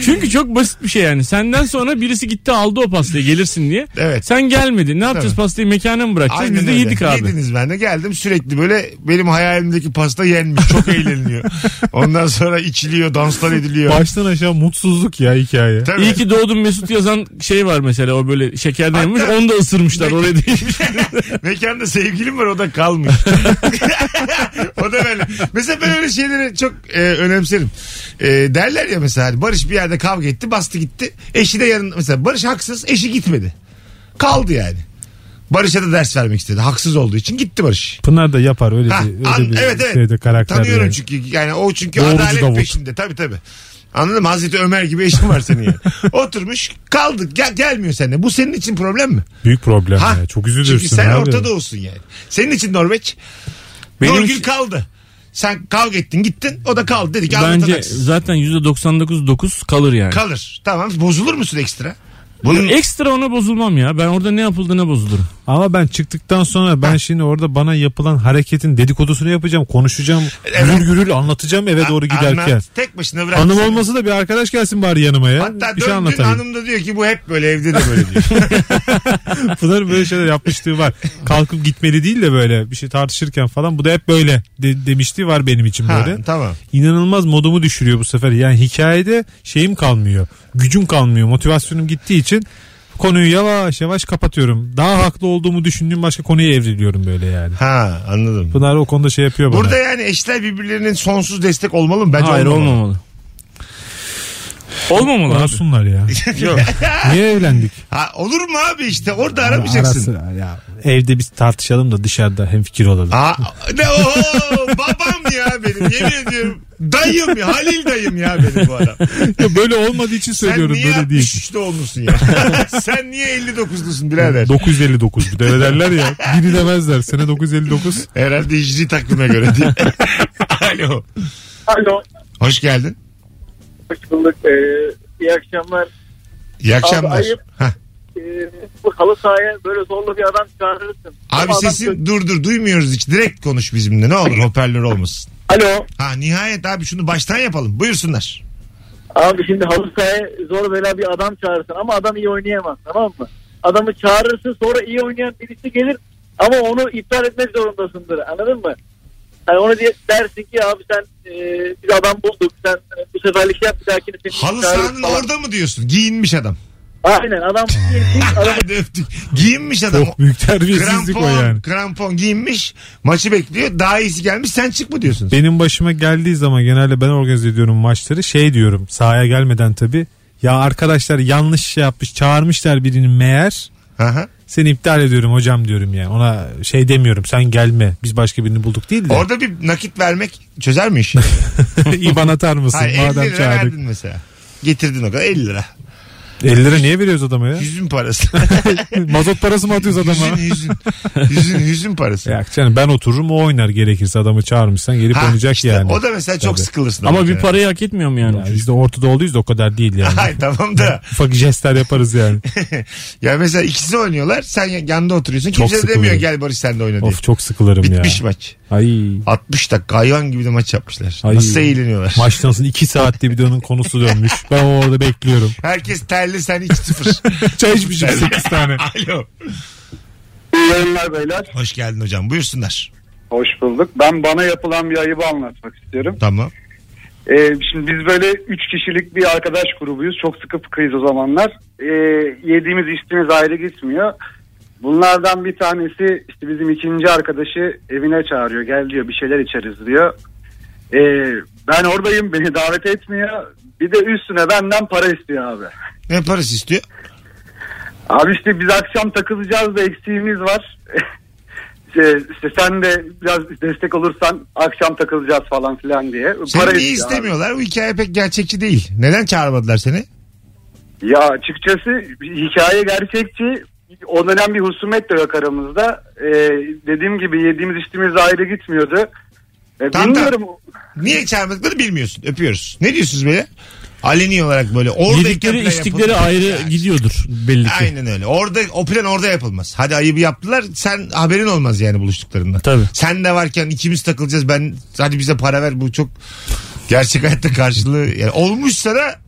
S5: Çünkü çok basit bir şey yani. Senden sonra birisi gitti aldı o pastayı gelirsin diye.
S3: Evet.
S5: Sen gelmedin. Ne yapacağız
S3: Tabii.
S5: pastayı mekana mı bırakacağız?
S3: Aynen
S5: Biz de
S3: öyle.
S5: yedik abi.
S3: Yediniz ben de geldim sürekli böyle benim hayalimdeki pasta yenmiş. Çok eğleniliyor. Ondan sonra içiliyor, danslar ediliyor.
S4: Baştan aşağı mutsuzluk ya hikaye.
S3: Tabii.
S5: İyi ki doğdum Mesut yazan şey var mesela o böyle şekerden yemiş
S3: Hatta-
S5: onu da ısırmışlar
S3: Peki.
S5: oraya değil.
S3: Mekanda sevgilim var o da kalmış. o da böyle. Mesela ben öyle şeyleri çok e, önemserim. E, derler ya mesela hani Barış bir yerde kavga etti bastı gitti. Eşi de yanında mesela Barış haksız eşi gitmedi. Kaldı yani. Barış'a da ders vermek istedi. Haksız olduğu için gitti Barış.
S4: Pınar da yapar öyle
S3: Ha,
S4: bir, öyle
S3: an-
S4: bir
S3: evet evet.
S4: şeyde karakter.
S3: Tanıyorum
S4: yani.
S3: çünkü yani o çünkü
S4: Doğrucu
S3: adalet
S4: Davut.
S3: peşinde tabii tabii. Anladın mı? Hazreti Ömer gibi eşin var senin yani. Oturmuş kaldık gel, gelmiyor seninle. Bu senin için problem mi?
S4: Büyük problem
S3: Ha.
S4: ya. Çok üzülürsün
S3: Çünkü sen
S4: abi.
S3: Orta Doğu'sun yani. Senin için Norveç.
S5: Benim
S3: Nurgül
S5: için-
S3: kaldı. Sen kavga ettin gittin o da kaldı dedik.
S5: Bence
S3: Bence
S5: zaten %99.9 kalır yani.
S3: Kalır. Tamam bozulur musun ekstra?
S5: Ekstra ona bozulmam ya. Ben orada ne yapıldığına bozulurum.
S4: Ama ben çıktıktan sonra ben şimdi orada bana yapılan hareketin dedikodusunu yapacağım. Konuşacağım. Gürül gürül anlatacağım eve doğru giderken.
S3: Anlat, tek başına bırak.
S4: Hanım olması da bir arkadaş gelsin bari yanıma ya.
S3: Hatta
S4: bir şey
S3: döndün
S4: anlatayım.
S3: hanım da diyor ki bu hep böyle evde de böyle diyor.
S4: Pınar'ın böyle şeyler yapmışlığı var. Kalkıp gitmeli değil de böyle bir şey tartışırken falan. Bu da hep böyle de- demişti var benim için
S3: Ha,
S4: böyle.
S3: tamam.
S4: İnanılmaz modumu düşürüyor bu sefer. Yani hikayede şeyim kalmıyor. Gücüm kalmıyor. Motivasyonum gittiği için konuyu yavaş yavaş kapatıyorum. Daha haklı olduğumu düşündüğüm başka konuya evriliyorum böyle yani.
S3: Ha anladım.
S4: Pınar o konuda şey yapıyor bana.
S3: Burada yani eşler birbirlerinin sonsuz destek olmalı mı? Bence
S5: Hayır olmamalı. Olmamalı abi.
S4: Masumlar ya.
S5: Yok.
S4: Niye evlendik?
S3: Ha, olur mu abi işte orada aramayacaksın.
S4: Arası- ya, evde biz tartışalım da dışarıda hem fikir olalım.
S3: Ha, ne o babam ya benim yemin ediyorum. Dayım ya Halil dayım ya benim bu adam.
S4: Ya böyle olmadığı için
S3: Sen
S4: söylüyorum
S3: niye
S4: böyle değil.
S3: 63'te olmuşsun ya? Sen niye 59'lusun birader?
S4: 959 bir de öyle derler ya. Biri demezler. Sene 959.
S3: Herhalde hicri takvime göre diye. Alo.
S15: Alo.
S3: Hoş geldin.
S15: Hoş bulduk. Ee, iyi akşamlar.
S3: İyi akşamlar.
S15: Abi ayıp.
S3: Hah.
S15: Ee, bu halı sahaya böyle zorlu bir adam çağırırsın.
S3: Abi
S15: Ama adam
S3: sesin dur dur duymuyoruz hiç. Direkt konuş bizimle ne olur hoparlör olmasın.
S15: Alo.
S3: Ha nihayet abi şunu baştan yapalım. Buyursunlar.
S15: Abi şimdi halı sahaya zor bela bir adam çağırırsın ama adam iyi oynayamaz tamam mı? Adamı çağırırsın sonra iyi oynayan birisi gelir ama onu iptal etmek zorundasındır anladın mı? Hani onu diye dersin ki abi sen e, biz adam bulduk sen e, bu seferlik yap bir dahakini seni
S3: Halı
S15: çağırırız
S3: sahanın
S15: falan.
S3: orada mı diyorsun? Giyinmiş adam.
S15: Aynen adam adam
S3: Hadi öptük. Giyinmiş adam.
S4: Çok büyük terbiyesizlik o
S3: krampon,
S4: yani.
S3: krampon giyinmiş. Maçı bekliyor. Daha iyisi gelmiş. Sen çık mı diyorsun?
S4: Benim başıma geldiği zaman genelde ben organize ediyorum maçları. Şey diyorum sahaya gelmeden tabii. Ya arkadaşlar yanlış şey yapmış çağırmışlar birini meğer.
S3: Aha.
S4: Seni iptal ediyorum hocam diyorum yani. Ona şey demiyorum sen gelme biz başka birini bulduk değil de.
S3: Orada bir nakit vermek çözer mi işi?
S4: İban atar mısın
S3: Hayır, 50
S4: madem
S3: lira
S4: çağırdık.
S3: verdin mesela. Getirdin o kadar 50 lira.
S4: 50 lira niye veriyoruz adama ya?
S3: Yüzün parası.
S4: Mazot parası mı atıyoruz adama?
S3: yüzün, yüzün, yüzün, yüzün parası.
S4: Ya canım ben otururum o oynar gerekirse adamı çağırmışsan gelip
S3: Ha,
S4: oynayacak
S3: işte
S4: yani.
S3: O da mesela çok
S4: Tabii.
S3: sıkılırsın.
S5: Ama bir
S3: mesela.
S5: parayı hak etmiyor mu yani?
S4: Yani biz de Orta Doğuluyuz da o kadar değil yani.
S3: Hayır tamam da.
S4: Ufak jestler yaparız yani.
S3: ya mesela ikisi oynuyorlar. Sen yanında oturuyorsun.
S4: Çok
S3: Kimse de demiyor
S4: sıkılıyorum.
S3: gel Barış sen de oyna diye.
S4: of çok sıkılırım
S3: Bitmiş
S4: ya.
S3: maç.
S4: Ay.
S3: 60 dakika hayvan gibi de maç yapmışlar.
S4: Ay.
S3: Nasıl eğleniyorlar.
S4: Maçtan sonra 2 saatte bir de onun konusu dönmüş. Ben orada bekliyorum.
S3: Herkes terli sen 2-0.
S4: Çay içmişim 8 tane.
S3: Alo.
S10: İyi yayınlar beyler.
S3: Hoş geldin hocam. Buyursunlar.
S10: Hoş bulduk. Ben bana yapılan bir ayıbı anlatmak istiyorum.
S3: Tamam.
S10: Ee, şimdi biz böyle 3 kişilik bir arkadaş grubuyuz. Çok sıkı fıkıyız o zamanlar. Ee, yediğimiz içtiğimiz ayrı gitmiyor. Bunlardan bir tanesi işte bizim ikinci arkadaşı evine çağırıyor. Gel diyor bir şeyler içeriz diyor. Ee, ben oradayım beni davet etmiyor. Bir de üstüne benden para istiyor abi.
S3: Ne parası istiyor?
S10: Abi işte biz akşam takılacağız da eksiğimiz var. işte, işte sen de biraz destek olursan akşam takılacağız falan filan diye.
S3: Seni niye
S10: istiyor abi.
S3: istemiyorlar? Bu hikaye pek gerçekçi değil. Neden çağırmadılar seni?
S10: Ya açıkçası hikaye gerçekçi. O dönem bir husumet de yok aramızda. Ee, dediğim gibi yediğimiz içtiğimiz de ayrı gitmiyordu. Ee,
S3: Tamam,
S10: bilmiyorum.
S3: Niye çağırmadıklarını bilmiyorsun. Öpüyoruz. Ne diyorsunuz böyle? Aleni olarak böyle. Orada
S5: Yedikleri içtikleri
S3: şey
S5: ayrı gidiyordur belli ki.
S3: Aynen öyle. Orada o plan orada yapılmaz. Hadi ayıbı yaptılar. Sen haberin olmaz yani buluştuklarından.
S5: Tabii.
S3: Sen de varken ikimiz takılacağız. Ben hadi bize para ver. Bu çok gerçek hayatta karşılığı. Yani olmuşsa da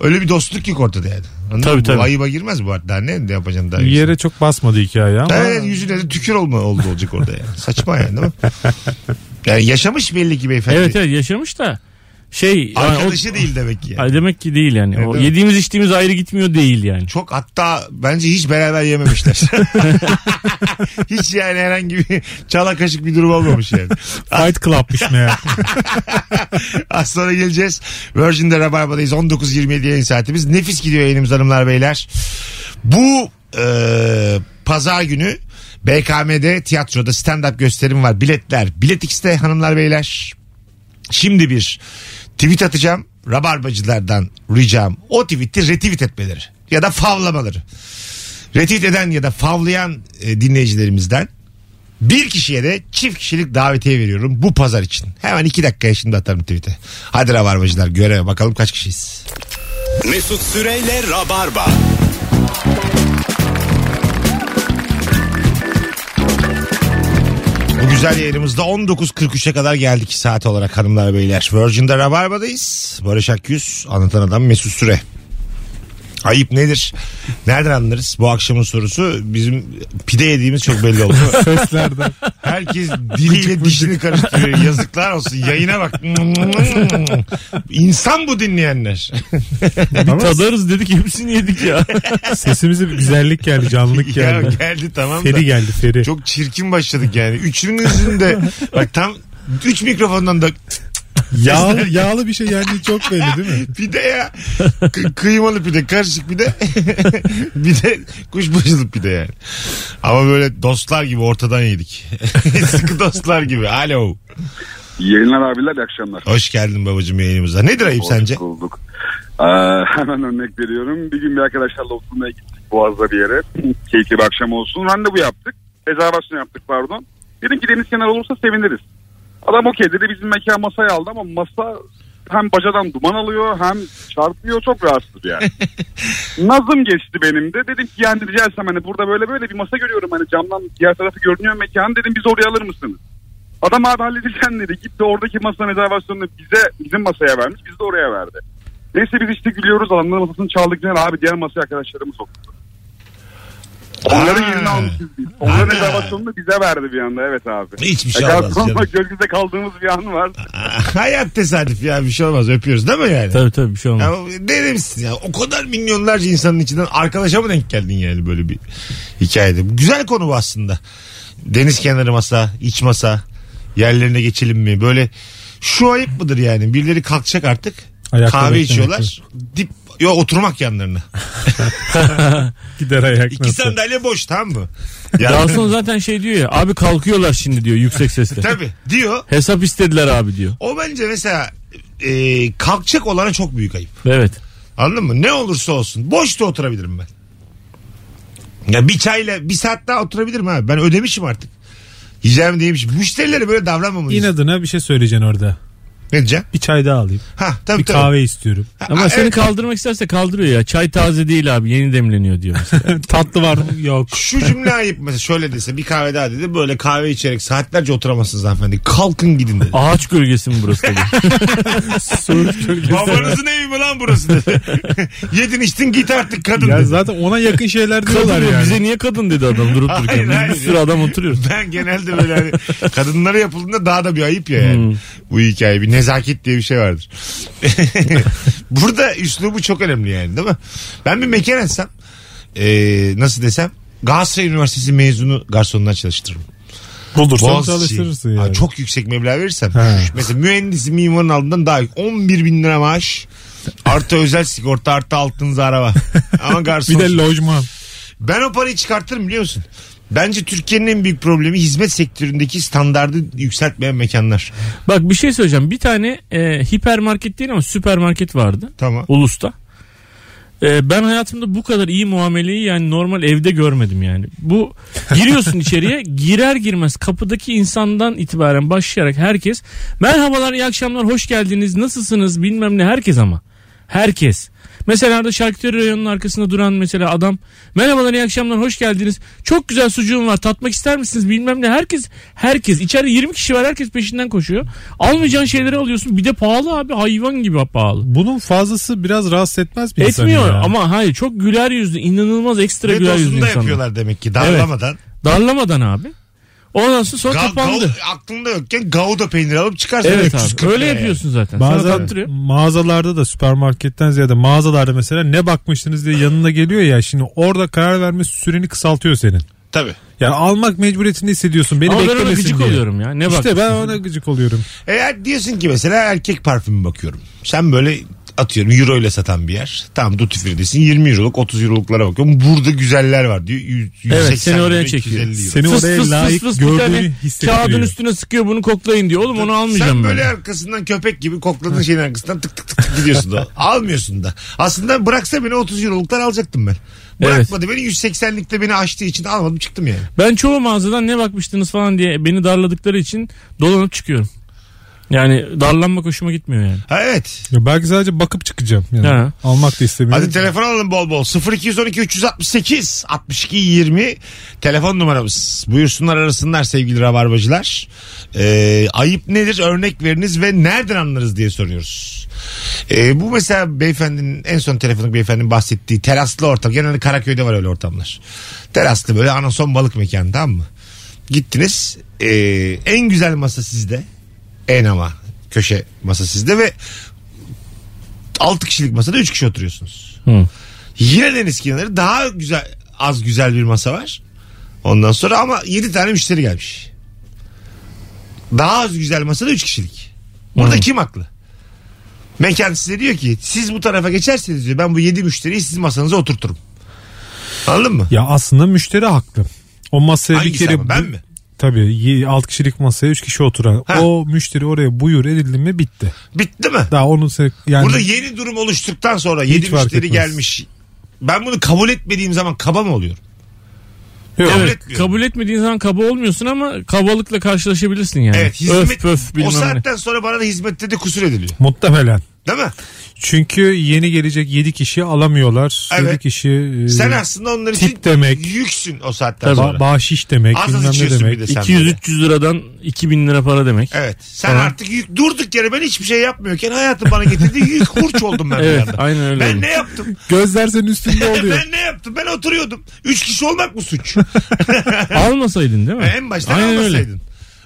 S3: öyle bir dostluk yok ortada yani. Anladın
S5: Tabii,
S3: mı?
S5: tabii.
S3: Bu ayıba girmez bu artık. Daha ne, ne yapacaksın daha?
S4: Bir yere çok basmadı hikaye ama.
S3: Evet, yüzüne de tükür olma oldu olacak orada yani. Saçma yani değil mi? Yani yaşamış belli ki beyefendi.
S5: Evet evet yaşamış da şey yani o-
S3: Arkadaşı değil demek ki. yani.
S5: Ay demek ki değil yani. o
S3: Evet.
S5: yediğimiz içtiğimiz ayrı gitmiyor değil yani.
S3: Çok hatta bence hiç beraber yememişler. hiç yani herhangi bir çala kaşık bir durum olmamış yani.
S4: Fight Club'mış meğer.
S3: Az sonra geleceğiz. Virgin'de Rabarba'dayız. 19.27 yayın saatimiz. Nefis gidiyor yayınımız hanımlar beyler. Bu e, pazar günü BKM'de tiyatroda stand-up gösterim var. Biletler Bilet X'te hanımlar beyler. Şimdi bir tweet atacağım. Rabarbacılardan ricam o tweet'i retweet etmeleri ya da favlamaları. Retweet eden ya da favlayan e, dinleyicilerimizden bir kişiye de çift kişilik davetiye veriyorum bu pazar için. Hemen iki dakikaya şimdi atarım tweet'e. Hadi Rabarbacılar göreve bakalım kaç kişiyiz.
S2: Mesut Süreyle Rabarba.
S3: Bu güzel yayınımızda 19.43'e kadar geldik saat olarak hanımlar beyler. Virgin'de Rabarba'dayız. Barış Akyüz, anlatan adam Mesut Süre. Ayıp nedir? Nereden anlarız? Bu akşamın sorusu bizim pide yediğimiz çok belli oldu.
S4: Seslerden.
S3: Herkes diliyle dişini karıştırıyor. Yazıklar olsun. Yayına bak. İnsan bu dinleyenler.
S5: Bir tadarız dedik hepsini yedik ya.
S4: Sesimize bir güzellik geldi, canlılık
S3: Ya
S4: geldi.
S3: geldi tamam da.
S4: Feri geldi Feri.
S3: Çok çirkin başladık yani. Üçünüzün de bak tam üç mikrofondan da
S4: Yağlı, yağlı bir şey yani çok belli değil mi?
S3: pide ya. Kı- kıymalı pide, karışık pide. bir de kuşbaşılı pide yani. Ama böyle dostlar gibi ortadan yedik. Sıkı dostlar gibi. Alo.
S16: Yayınlar abiler iyi akşamlar.
S3: Hoş geldin babacığım yayınımıza. Nedir ayıp
S16: Hoş
S3: sence?
S16: bulduk. Ee, hemen örnek veriyorum. Bir gün bir arkadaşlarla oturmaya gittik Boğaz'da bir yere. Keyifli bir akşam olsun. Randevu yaptık. Rezervasyon yaptık pardon. Dedim ki deniz kenarı olursa seviniriz. Adam okey dedi bizim mekan masayı aldı ama masa hem bacadan duman alıyor hem çarpıyor çok rahatsız yani. Nazım geçti benim de. Dedim ki yani rica etsem hani burada böyle böyle bir masa görüyorum hani camdan diğer tarafı görünüyor mekan. Dedim biz oraya alır mısınız? Adam abi halledeceğim dedi. Gitti oradaki masanın rezervasyonunu bize bizim masaya vermiş. Biz de oraya verdi. Neyse biz işte gülüyoruz. Adamların masasını çaldık. Yani abi diğer masaya arkadaşlarımı soktu. Onların
S3: Aa.
S16: yerini almışız biz. Onların
S3: Ana.
S16: rezervasyonunu bize verdi bir anda. Evet abi.
S3: Hiçbir şey
S16: E,
S3: olmaz
S16: kalkıp
S3: canım.
S16: Gözümüzde kaldığımız bir an var.
S3: Hayat tesadüf ya bir şey olmaz öpüyoruz değil mi yani?
S5: Tabii tabii bir şey olmaz.
S3: Ya, ne demişsin ya o kadar milyonlarca insanın içinden arkadaşa mı denk geldin yani böyle bir hikayede? Güzel konu bu aslında. Deniz kenarı masa, iç masa yerlerine geçelim mi? Böyle şu ayıp mıdır yani? Birileri kalkacak artık.
S4: Ayakta
S3: kahve
S4: beklemek
S3: içiyorlar. Dip Yo oturmak yanlarına.
S4: Gider ayak
S3: İki
S4: nasıl?
S3: sandalye boş tamam mı?
S5: Garson zaten şey diyor ya abi kalkıyorlar şimdi diyor yüksek sesle.
S3: Tabii diyor.
S5: Hesap istediler abi diyor.
S3: O bence mesela e, kalkacak olana çok büyük ayıp.
S5: Evet.
S3: Anladın mı? Ne olursa olsun. Boş da oturabilirim ben. Ya bir çayla bir saat daha oturabilirim abi. Ben ödemişim artık. Yiyeceğim demiş. Müşterilere böyle davranmamalıyız.
S4: İnadına bir şey söyleyeceksin orada.
S3: Ne diyeceğim?
S4: Bir çay daha alayım.
S3: Ha tabii
S4: bir
S3: tabii.
S4: kahve istiyorum.
S5: Ama
S3: Ha,
S5: seni
S3: evet.
S5: kaldırmak isterse kaldırıyor ya. Çay taze değil abi yeni demleniyor diyor. mesela.
S4: Tatlı var mı? Yok.
S3: Şu cümle ayıp mesela şöyle dese bir kahve daha dedi böyle kahve içerek saatlerce oturamazsınız hanımefendi. Kalkın gidin dedi.
S5: Ağaç gölgesi mi burası dedi.
S3: Babanızın evi mi lan burası dedi. Yedin içtin git artık kadın
S4: Ya
S3: dedi.
S4: zaten ona yakın şeyler diyorlar
S5: kadın mı?
S4: yani.
S5: Bize niye kadın dedi adam durup
S3: Hayır,
S5: dururken. Biz
S3: hayır.
S5: bir sürü adam oturuyoruz.
S3: Ben genelde böyle hani kadınlara yapıldığında daha da bir ayıp ya yani.
S4: Hmm.
S3: Bu hikaye bir nezaket diye bir şey vardır. Burada üslubu çok önemli yani değil mi? Ben bir mekanetsem eee, nasıl desem Galatasaray Üniversitesi mezunu garsonundan çalıştırırım.
S4: Bulursan
S3: Boğaziçi.
S4: çalıştırırsın yani.
S3: Ha, çok yüksek meblağ verirsem.
S4: Ha.
S3: Mesela mühendisi mimarın altından daha yük- 11 bin lira maaş. Artı özel sigorta artı altınız araba. Ama garson.
S4: Bir de lojman.
S3: Ben o parayı çıkartırım biliyor musun? Bence Türkiye'nin en büyük problemi hizmet sektöründeki standardı yükseltmeyen mekanlar.
S5: Bak bir şey söyleyeceğim. Bir tane e, hipermarket değil ama süpermarket vardı.
S3: Tamam.
S5: Ulus'ta. E, ben hayatımda bu kadar iyi muameleyi yani normal evde görmedim yani. Bu giriyorsun içeriye girer girmez kapıdaki insandan itibaren başlayarak herkes merhabalar iyi akşamlar hoş geldiniz nasılsınız bilmem ne herkes ama. Herkes. Mesela orada şarküteri reyonunun arkasında duran mesela adam merhabalar iyi akşamlar hoş geldiniz. Çok güzel sucuğum var tatmak ister misiniz bilmem ne. Herkes herkes içeride 20 kişi var herkes peşinden koşuyor. Almayacağın şeyleri alıyorsun bir de pahalı abi hayvan gibi pahalı.
S4: Bunun fazlası biraz rahatsız etmez mi insanı
S5: Etmiyor
S4: ya?
S5: ama hayır çok güler yüzlü inanılmaz ekstra
S3: Ve
S5: güler yüzlü
S3: dozunda
S5: insanlar.
S3: yapıyorlar demek ki darlamadan.
S5: Darlamadan abi. Ondan sonra, sonra
S3: Ga-
S5: kapandı.
S3: gau- aklında yokken gauda peyniri alıp çıkarsın.
S5: Evet
S3: 340
S5: abi öyle
S3: liraya.
S5: yapıyorsun zaten. Sana
S4: Bazen
S5: tattırıyor.
S4: mağazalarda da süpermarketten ziyade mağazalarda mesela ne bakmıştınız diye yanına geliyor ya şimdi orada karar verme süreni kısaltıyor senin.
S3: Tabii.
S4: Yani almak mecburiyetini hissediyorsun. Beni
S5: Ama ben ona
S4: beklemesin
S5: gıcık
S4: diye.
S5: oluyorum ya. Ne bak.
S4: İşte ben ona gıcık oluyorum.
S3: Eğer diyorsun ki mesela erkek parfümü bakıyorum. Sen böyle atıyorum euro ile satan bir yer. Tamam duty free'desin 20 euroluk 30 euroluklara bakıyorum. Burada güzeller var diyor. Yüz- 180
S5: Evet, seni oraya
S3: euro,
S5: çekiyor.
S3: 250 euro.
S4: Seni oraya layık
S5: bir
S4: gördüğünü
S5: tane
S4: hissettiriyor.
S5: hani Kağıdın üstüne sıkıyor bunu koklayın diyor. Oğlum onu almayacağım
S3: Sen
S5: ben.
S3: böyle arkasından köpek gibi kokladığın şeyin arkasından tık tık tık, tık gidiyorsun da. Almıyorsun da. Aslında bıraksa beni 30 euroluklar alacaktım ben. Bırakmadı beni 180'likte beni açtığı için almadım çıktım yani.
S5: Ben çoğu mağazadan ne bakmıştınız falan diye beni darladıkları için dolanıp çıkıyorum. Yani darlanmak hoşuma gitmiyor yani.
S3: evet.
S4: belki sadece bakıp çıkacağım. Yani.
S5: Ha.
S4: Almak da istemiyorum.
S3: Hadi telefon alalım bol bol. 0212 368 62 20 telefon numaramız. Buyursunlar arasınlar sevgili rabarbacılar. Ee, ayıp nedir örnek veriniz ve nereden anlarız diye soruyoruz. Ee, bu mesela beyefendinin en son telefonluk beyefendinin bahsettiği teraslı ortam. Genelde Karaköy'de var öyle ortamlar. Teraslı böyle anason balık mekanı tamam mı? Gittiniz ee, en güzel masa sizde. En ama köşe masa sizde ve 6 kişilik masada 3 kişi oturuyorsunuz. Yine deniz kenarı daha güzel az güzel bir masa var. Ondan sonra ama 7 tane müşteri gelmiş. Daha az güzel masada 3 kişilik. Burada kim haklı? Mekan size diyor ki siz bu tarafa geçerseniz diyor ben bu 7 müşteriyi sizin masanıza oturturum. Anladın mı?
S4: Ya aslında müşteri haklı. O masaya
S3: Hangisi
S4: bir kere...
S3: ama, ben mi?
S4: Tabii 6 kişilik masaya 3 kişi oturan. O müşteri oraya buyur edildi mi bitti.
S3: Bitti mi?
S4: Daha onun se- yani
S3: Burada yeni durum oluştuktan sonra
S4: Hiç
S3: 7
S4: fark
S3: müşteri
S4: etmez.
S3: gelmiş. Ben bunu kabul etmediğim zaman kaba mı oluyorum? Kabul
S5: evet,
S3: etmiyorum.
S5: kabul etmediğin zaman kaba olmuyorsun ama kabalıkla karşılaşabilirsin yani.
S3: Evet hizmet
S5: öf pöf
S3: o
S5: bilmem ne.
S3: saatten sonra bana da hizmette de kusur ediliyor.
S4: muhtemelen.
S3: Değil mi?
S4: Çünkü yeni gelecek 7 kişi alamıyorlar.
S3: Evet.
S4: 7 kişi
S5: Ee,
S4: e,
S3: Sen aslında onlar için
S4: tip demek.
S3: yüksün o saatten
S4: Tabii.
S3: sonra.
S4: Ba- bahşiş demek,
S3: Az az
S4: bilmem ne
S3: içiyorsun
S4: demek.
S5: E,
S3: bir de sen
S5: 200-300 liradan 2000 lira para demek.
S3: Evet. Sen
S5: Tamam.
S3: artık yük, durduk yere ben hiçbir şey yapmıyorken hayatım bana getirdi yük hurç oldum ben
S5: Evet
S3: bir anda.
S5: aynen öyle.
S3: Ben
S5: oldu.
S3: ne yaptım?
S4: Gözler senin üstünde oluyor.
S3: ben ne yaptım? Ben oturuyordum. Üç kişi olmak mı suç?
S5: Almasaydın değil mi?
S3: en baştan
S5: Aynen öyle.
S3: almasaydın.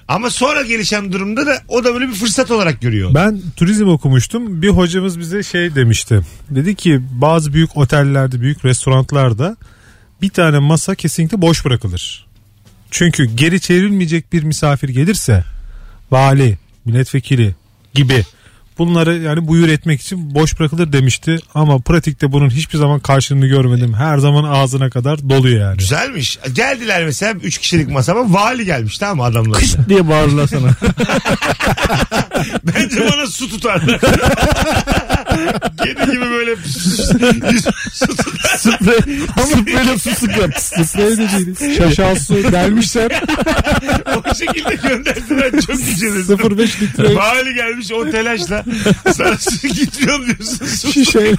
S3: Ama sonra gelişen durumda da o da böyle bir fırsat olarak görüyor.
S4: Ben turizm okumuştum. Bir hocamız bize şey demişti. Dedi ki bazı büyük otellerde, büyük restoranlarda bir tane masa kesinlikle boş bırakılır. Çünkü geri çevrilmeyecek bir misafir gelirse vali, milletvekili gibi bunları yani buyur etmek için boş bırakılır demişti. Ama pratikte bunun hiçbir zaman karşılığını görmedim. Her zaman ağzına kadar doluyor yani.
S3: Güzelmiş. Geldiler mesela üç kişilik masama vali gelmiş tamam mı adamlar?
S5: diye bağırırlar sana.
S3: Bence bana su tutarlar. Kedi gibi böyle su tutar.
S5: Böyle su sıkar.
S4: Sırtlayı da değiliz. Şaşal su gelmişler.
S3: O şekilde gönderdiler çok güzel.
S4: 0,5 litre
S3: Vali gelmiş o telaşla. Sana su gitmiyorum diyorsun. Su
S4: şişeyle.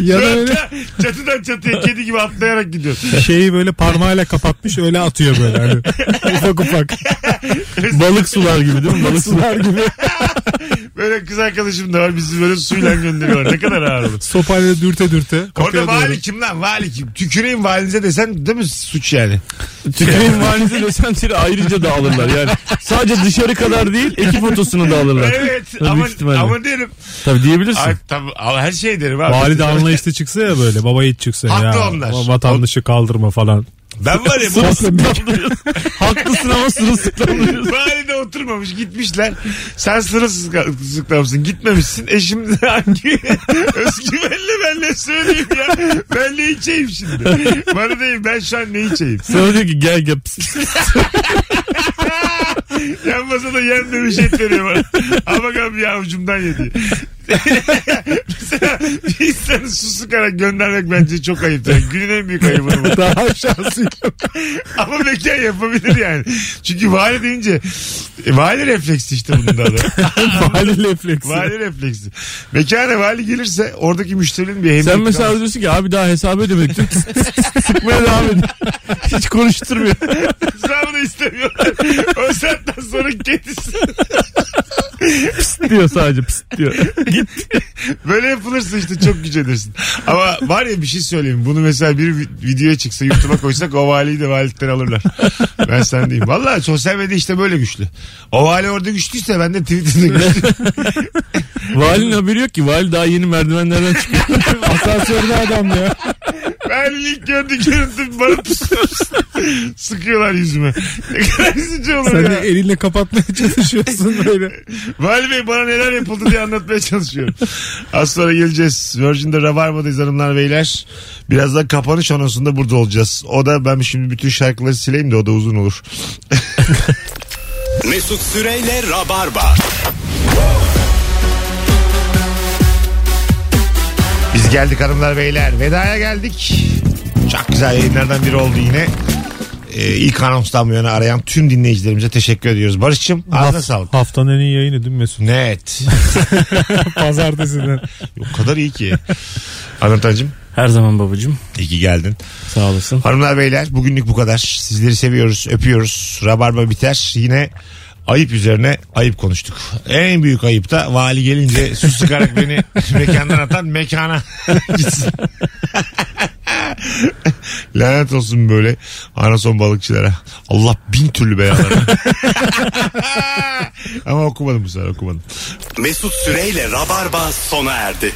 S4: Yana Şey, öyle
S3: Çatıdan çatıya kedi gibi atlayarak gidiyorsun.
S4: şeyi böyle parmağıyla kapatmış öyle atıyor böyle hani. ufak ufak. Balık sular gibi değil mi? Balık sular gibi.
S3: Böyle kız arkadaşım da var bizi böyle suyla gönderiyorlar. Ne kadar ağır olur.
S4: Sopayla dürte dürte.
S3: Orada
S4: kapıya doğru.
S3: vali kim lan vali kim? Tüküreyim valinize desen değil mi suç yani?
S5: Tükürüğün valinize lösentiri ayrıca da alırlar yani. Sadece dışarı kadar değil ekip fotosunu da alırlar.
S3: Evet
S5: Tabii
S3: ama,
S5: büyük ihtimalle.
S3: ama derim.
S5: Tabii diyebilirsin.
S3: Ay, tabii, ama her şey derim abi.
S4: Vali de anlayışlı çıksa ya böyle baba yiğit çıksa
S3: Haklı
S4: ya.
S3: onlar.
S4: va- Vatandaşı kaldırma falan.
S3: Ben var ya bu
S5: Haklısın ama sırılsıklamıyorsun.
S3: Bari de oturmamış gitmişler. Sen sırılsıklamışsın gitmemişsin. E şimdi hangi özgüvenle ben ne söyleyeyim ya. Ben ne içeyim şimdi. Bana değil ben şu an ne içeyim.
S5: Sonra diyor ki gel gel.
S3: Yan masada yenmemiş et veriyor bana. Ama bakalım bir avucumdan yedi. Mesela bir insanı su sıkarak göndermek bence çok ayıp. Yani günün en büyük ayıbı bu.
S4: Daha şansı yok.
S3: Ama mekan yapabilir yani. Çünkü vali deyince e, vali refleksi işte bunun da adı.
S4: Vali refleksi.
S3: Vali refleksi. Mekana vali gelirse oradaki müşterinin bir hemlik
S5: Sen mesela diyorsun ki abi daha hesabı ödemek için sıkmaya devam edin. Hiç konuşturmuyor.
S3: hesabını istemiyorlar. o saatten sonra kedisi.
S5: diyor sadece pist diyor. Git.
S3: Böyle yapılırsa işte çok gücenirsin. Ama var ya bir şey söyleyeyim. Bunu mesela bir vi- videoya çıksa YouTube'a koysak o valiyi de valilikten alırlar. Ben sen diyeyim. Valla sosyal medya işte böyle güçlü. O vali orada güçlüyse ben de Twitter'da güçlü.
S5: Valinin haberi yok ki. Vali daha yeni merdivenlerden çıkıyor.
S4: Asansörde adam ya.
S3: Ben ilk gördüğü görüntü bana pıs pıs sıkıyorlar yüzüme. Ne kadar üzücü olur
S4: Sen de
S3: ya.
S4: elinle kapatmaya çalışıyorsun böyle.
S3: Vali Bey bana neler yapıldı diye anlatmaya çalışıyorum. Az sonra geleceğiz. Virgin'de Rabarba'dayız hanımlar beyler. Birazdan kapanış anonsunda burada olacağız. O da ben şimdi bütün şarkıları sileyim de o da uzun olur.
S2: Mesut Süreyle Rabarba.
S3: Biz geldik hanımlar beyler. Vedaya geldik. Çok güzel yayınlardan biri oldu yine. Ee, e, ilk anonstan bu yana arayan tüm dinleyicilerimize teşekkür ediyoruz. Barış'cığım ağzına sağlık.
S4: Haftanın en iyi yayını değil mi Mesut?
S3: Net.
S4: Pazartesiden.
S3: O kadar iyi ki. Anlatancığım.
S5: Her zaman babacığım.
S3: İyi ki geldin.
S5: Sağ olasın.
S3: Hanımlar beyler bugünlük bu kadar. Sizleri seviyoruz, öpüyoruz. Rabarba biter. Yine ayıp üzerine ayıp konuştuk. En büyük ayıp da vali gelince su sıkarak beni mekandan atan mekana gitsin. Lanet olsun böyle anason balıkçılara. Allah bin türlü belalarını. Ama okumadım bu sefer okumadım.
S2: Mesut Süreyle Rabarba sona erdi.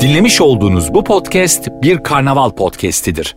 S1: Dinlemiş olduğunuz bu podcast bir karnaval podcastidir.